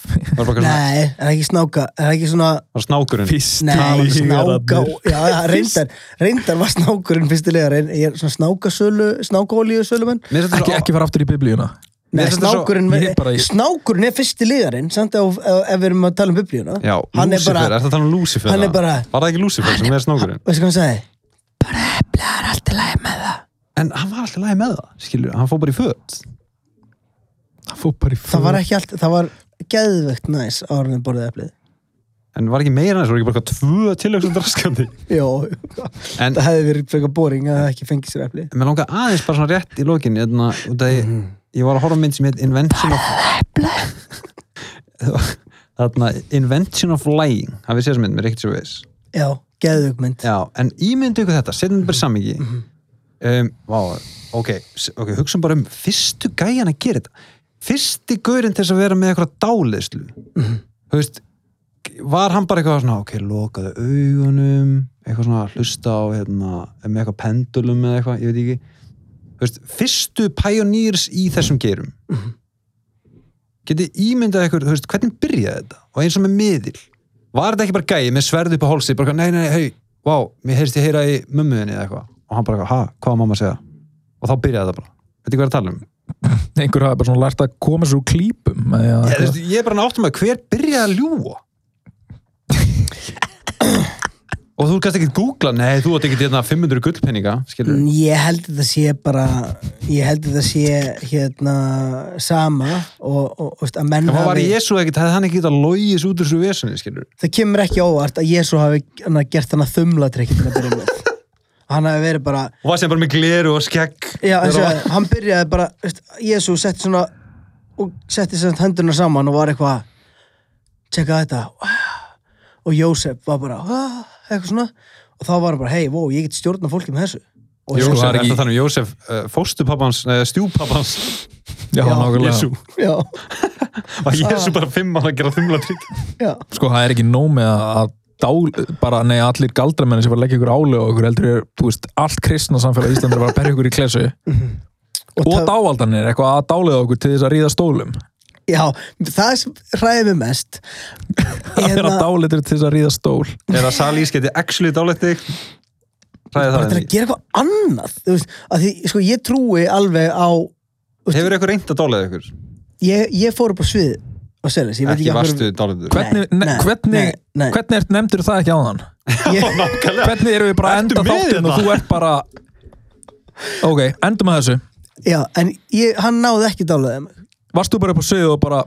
Speaker 3: Var bara eitthvað svona,
Speaker 1: Nei, er það ekki snáka, er það ekki svona
Speaker 3: var snákurinn?
Speaker 2: fyrst hérna.
Speaker 1: Nei,
Speaker 2: talandi
Speaker 1: snáka
Speaker 2: sigararnir.
Speaker 1: um Já, já, reyndar, reyndar var snákurinn fyrstilega reynd, Ég er svona snákasölu, snákaolíu sölumenn
Speaker 3: Mér finnst þetta
Speaker 2: ekki,
Speaker 3: svo-
Speaker 2: ekki fara aftur í biblíuna
Speaker 1: Nei,
Speaker 3: finnst þetta svo-
Speaker 1: snákurinn,
Speaker 2: ég er bara-
Speaker 1: snákurinn er fyrstilegarinn samt ef, ef, ef við erum að tala um biblíuna
Speaker 3: Já,
Speaker 1: Hann er
Speaker 3: Lúcifer,
Speaker 1: bara,
Speaker 3: er það þannig um Lúcifer?
Speaker 1: hann er
Speaker 3: það?
Speaker 1: bara-
Speaker 3: Var það ekki Lúcifer sem er snákurinn?
Speaker 1: veistu hvað hann sagði?
Speaker 3: En hann var alltaf lægi með það, skilur, hann fór bara í föt.
Speaker 2: það fór bara í
Speaker 1: Það var
Speaker 3: Mm.
Speaker 2: föt.
Speaker 1: ekki allt, það var geðvegt næs ára en borðið eflið
Speaker 3: En var ekki meira eins, voru ekki bara eitthvað tvö tilöksum draskandi.
Speaker 1: Jó,
Speaker 3: En
Speaker 1: það hefði verið frekar boring að það ekki fengið sér eflið
Speaker 3: mér langar aðeins bara svona rétt í lokin, hérna, þannig að ég, ég var að horfa á mynd sem heit Invention of... *laughs* Þarna, Invention of Lying, hafið séð þess mynd með Ricky Gervais.
Speaker 1: Já, geðveg mynd
Speaker 3: Já, en ímyndu ykkur þetta, setjum þetta bara samingi. Um, vá, ok, s- ok, hugsaum bara um fyrstu gæjan að gera þetta. Fyrsti gaurinn til þess að vera með eitthvað dáleyslu. Þú veist, var hann bara eitthvað svona, ok, lokaðu augunum, eitthvað svona hlusta á, hérna, með eitthvað pendulum eða eitthvað, ég veit ekki. Þú veist, fyrstu pioneers í þessum gerum. Getið ímyndað ykkur, þú veist, hvernig byrjaði þetta? Og eins og með miðil. Var þetta ekki bara gæi með sverð upp á hálsi, bara, eitthvað, nei, nei, hei, vá, mér heyrst ég heyra í mömmuðinni eða eitthvað. Og hann bara, eitthvað, ha, hvað var mamma að segja? Og þá byrjaði þetta bara. Þetta er hvað ég er að tala um.
Speaker 2: einhver hafði bara svona lært að koma sér úr klípum eða
Speaker 3: Ég, þú
Speaker 2: eitthvað.
Speaker 3: veist, ég er bara náttum að hver byrjaði að ljúa og þú kannst ekki googla nei, þú átt ekki hérna 500 gullpenninga skilur
Speaker 1: Mm, Ég held að það sé bara ég held að það sé hérna sama og, og, og veist, að menn
Speaker 3: en hvað var
Speaker 1: hafi-
Speaker 3: Jésu ekkert, hefði hann ekki getað logis út úr þessu vesunni skilur
Speaker 1: það kemur ekki á óvart að Jésu hafi hana, gert hann að þumla trekki til að byrja með hann hafi verið bara
Speaker 3: og var sem bara með gleru og skegg
Speaker 1: já, eins
Speaker 3: Þegar
Speaker 1: og,
Speaker 3: hann var-
Speaker 1: hann byrjaði bara veist, Jésu setti svona og setti sem sagt hendurna saman og var eitthvað tjekka þetta og Jósef var bara "Ah," eitthvað svona og þá var hann bara hei, vó, ég get stjórna fólki með þessu og sko-
Speaker 2: Jó,
Speaker 3: Jósef,
Speaker 2: var
Speaker 3: ekki...
Speaker 2: ekki-
Speaker 3: þannig, Jósef uh, fóstupappans, uh, stjúpappans
Speaker 2: Já, nákvæmlega.
Speaker 3: Jésu,
Speaker 1: já,
Speaker 3: var Jésu bara fimm ára að gera þumlatrygg
Speaker 1: já
Speaker 2: sko það er ekki nóg með að að dál, bara nei allir galdramenni sem var að leggja ykkur álega og ykkur heldur er, þú veist, allt kristna samfélag Íslandir var að berja ykkur í klesu
Speaker 1: Mhm.
Speaker 2: og,
Speaker 1: ta-
Speaker 2: dáaldanir, eitthvað að dálega okkur til þess að ríða stólum
Speaker 1: Já, það sem hræði mig mest
Speaker 2: að vera
Speaker 1: hérna,
Speaker 2: dálitur til þess að ríða stól
Speaker 3: eða Salís geti actually dálætt þig ræði
Speaker 1: bara
Speaker 3: það
Speaker 1: til að
Speaker 3: ekki
Speaker 1: gera eitthvað annað þú veist, að því, sko, ég trúi alveg á
Speaker 3: hefur eitthvað reynd að dálæða ykkur?
Speaker 1: ég, ég fór upp á svið á Selis, ég veit
Speaker 3: ekki
Speaker 1: ekki af hverju-
Speaker 3: varstu dálættur
Speaker 2: hvernig,
Speaker 1: Nei,
Speaker 2: nei,
Speaker 1: nei,
Speaker 2: hvernig,
Speaker 1: nei, nei.
Speaker 2: hvernig ert nefndur það ekki áðan
Speaker 1: ég,
Speaker 2: hvernig erum við bara að
Speaker 3: Hérna, Ertu
Speaker 2: enda
Speaker 3: með hérna?
Speaker 2: þáttinn
Speaker 3: þetta?
Speaker 2: og þú ert bara ok, endum að þessu
Speaker 1: Já, en ég, hann náði ekki dálæðið mig
Speaker 2: varst þú bara upp á sögu og bara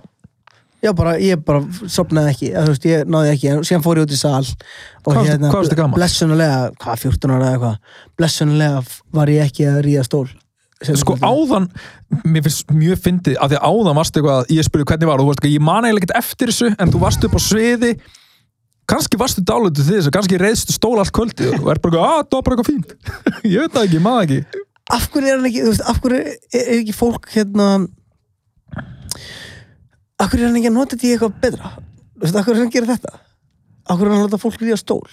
Speaker 1: Já, bara, ég bara sopnaði ekki eða, þú veist, ég náði ekki, en síðan fór ég út í sal og
Speaker 2: Hvað varstu- hvað varstu gamall?
Speaker 1: blessunulega, hvað, 14 ára eða eitthvað blessunulega var ég ekki að ríða stól
Speaker 2: sko áðan, mér finnst mjög fyndið af því að áðan varstu eitthvað, að ég spurði hvernig var og þú varst eitthvað, ég man eiginlega ekkert eftir þessu en þú varst upp á sviði kannski varstu dálötu því þessu, kannski reyðstu stól allt kvöldið og er bara eitthvað, að það var bara eitthvað fínt *laughs* ég veit það ekki, ég man það ekki
Speaker 1: af hverju er hann ekki, þú veist, af hverju er, er ekki fólk hérna af hverju er hann ekki að nota þetta í eitthvað betra þú veist, af hverju er hann að gera þetta af hverju er hann að láta fólk líða stól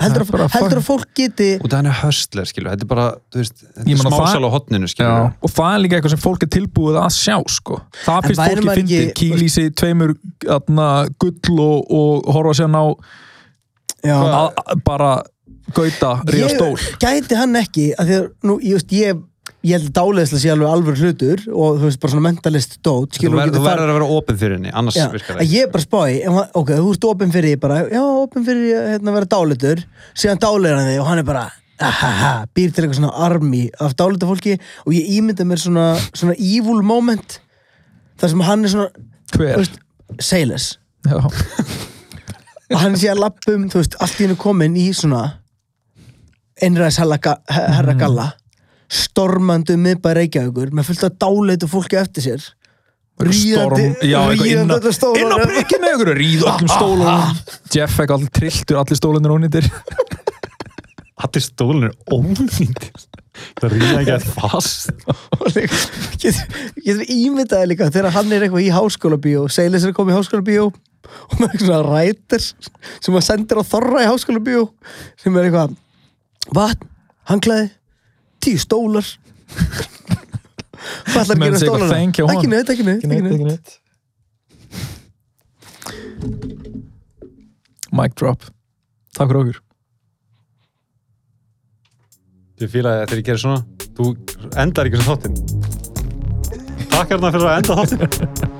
Speaker 1: heldur,
Speaker 2: Það er
Speaker 1: að,
Speaker 2: bara
Speaker 1: heldur
Speaker 2: fucking-
Speaker 1: að fólk geti
Speaker 3: og það er höstler skilur, þetta er bara þú veist, þetta
Speaker 2: Ég
Speaker 3: er
Speaker 2: meina,
Speaker 3: smásal á
Speaker 2: það-
Speaker 3: hotninu skilur
Speaker 2: og það er líka eitthvað sem fólk er tilbúið að sjá sko. það
Speaker 1: En
Speaker 2: finnst
Speaker 1: væri
Speaker 2: fólki
Speaker 1: maður ekki-
Speaker 2: fyndið kýlísi, tveimur atna, gull og, og horfa sér ná
Speaker 1: já,
Speaker 2: að, að, bara gauta, ríða stól
Speaker 1: ég, gæti hann ekki að því að, nú, ég veist, ég ég held að dáleðslega sé alveg alveg hlutur og þú veist, bara svona mentalist dót
Speaker 3: þú
Speaker 1: skilur,
Speaker 3: ver- þú
Speaker 1: getur farið-
Speaker 3: verður að vera opið fyrir henni annars
Speaker 1: Já, að
Speaker 3: virkar það
Speaker 1: ég er bara spái, ok, þú ert opinn fyrir því bara, já, opinn fyrir því að hérna, vera dálitur síðan dálir hann því og hann er bara ahaha, býr til eitthvað svona army af dálita fólki og ég ímynda mér svona, svona evil moment þar sem hann er svona, þú
Speaker 2: hver?
Speaker 1: veist, Sailors
Speaker 2: Já.
Speaker 1: og hann sé að lappum, þú veist, allt í hennu komin í svona einræðis herra
Speaker 2: Mhm.
Speaker 1: galla stormandi um miðbæ Reykjavíkur með fullt af dáleitu fólki eftir sér
Speaker 2: Storm,
Speaker 1: Ríðandi-
Speaker 2: já, eitthvað inn á-
Speaker 1: ríðandi þetta Ah, stóra-
Speaker 2: inn á bryggjum
Speaker 1: *laughs*
Speaker 2: með ykkur ríð öllum stólunum Jeff fekk allir trilltur, allir stólunir ónýttir
Speaker 3: allir stólinn er ónýtt það rýða ekki að fast
Speaker 1: Og líka- getur getur ímyndaði líka þegar hann er eitthvað í háskóla bíó Seilis er komið í háskóla bíó og maður er svona rætir sem maður sendir á þorra í háskóla bíó sem er eitthvað vatn, hanglaði, tíu stólar *laughs* hvað ætlar að
Speaker 2: Menn
Speaker 1: gera
Speaker 2: segir eitthvað,
Speaker 1: stólar
Speaker 2: thank you, hon.
Speaker 1: ekki neitt, ekki neitt, ekki neitt.
Speaker 2: neitt Mic drop Takk fyrir okkur
Speaker 3: ég fíla að þegar ég gerir svona þú endar ekki sem þáttinn takk hérna fyrir að enda þáttinn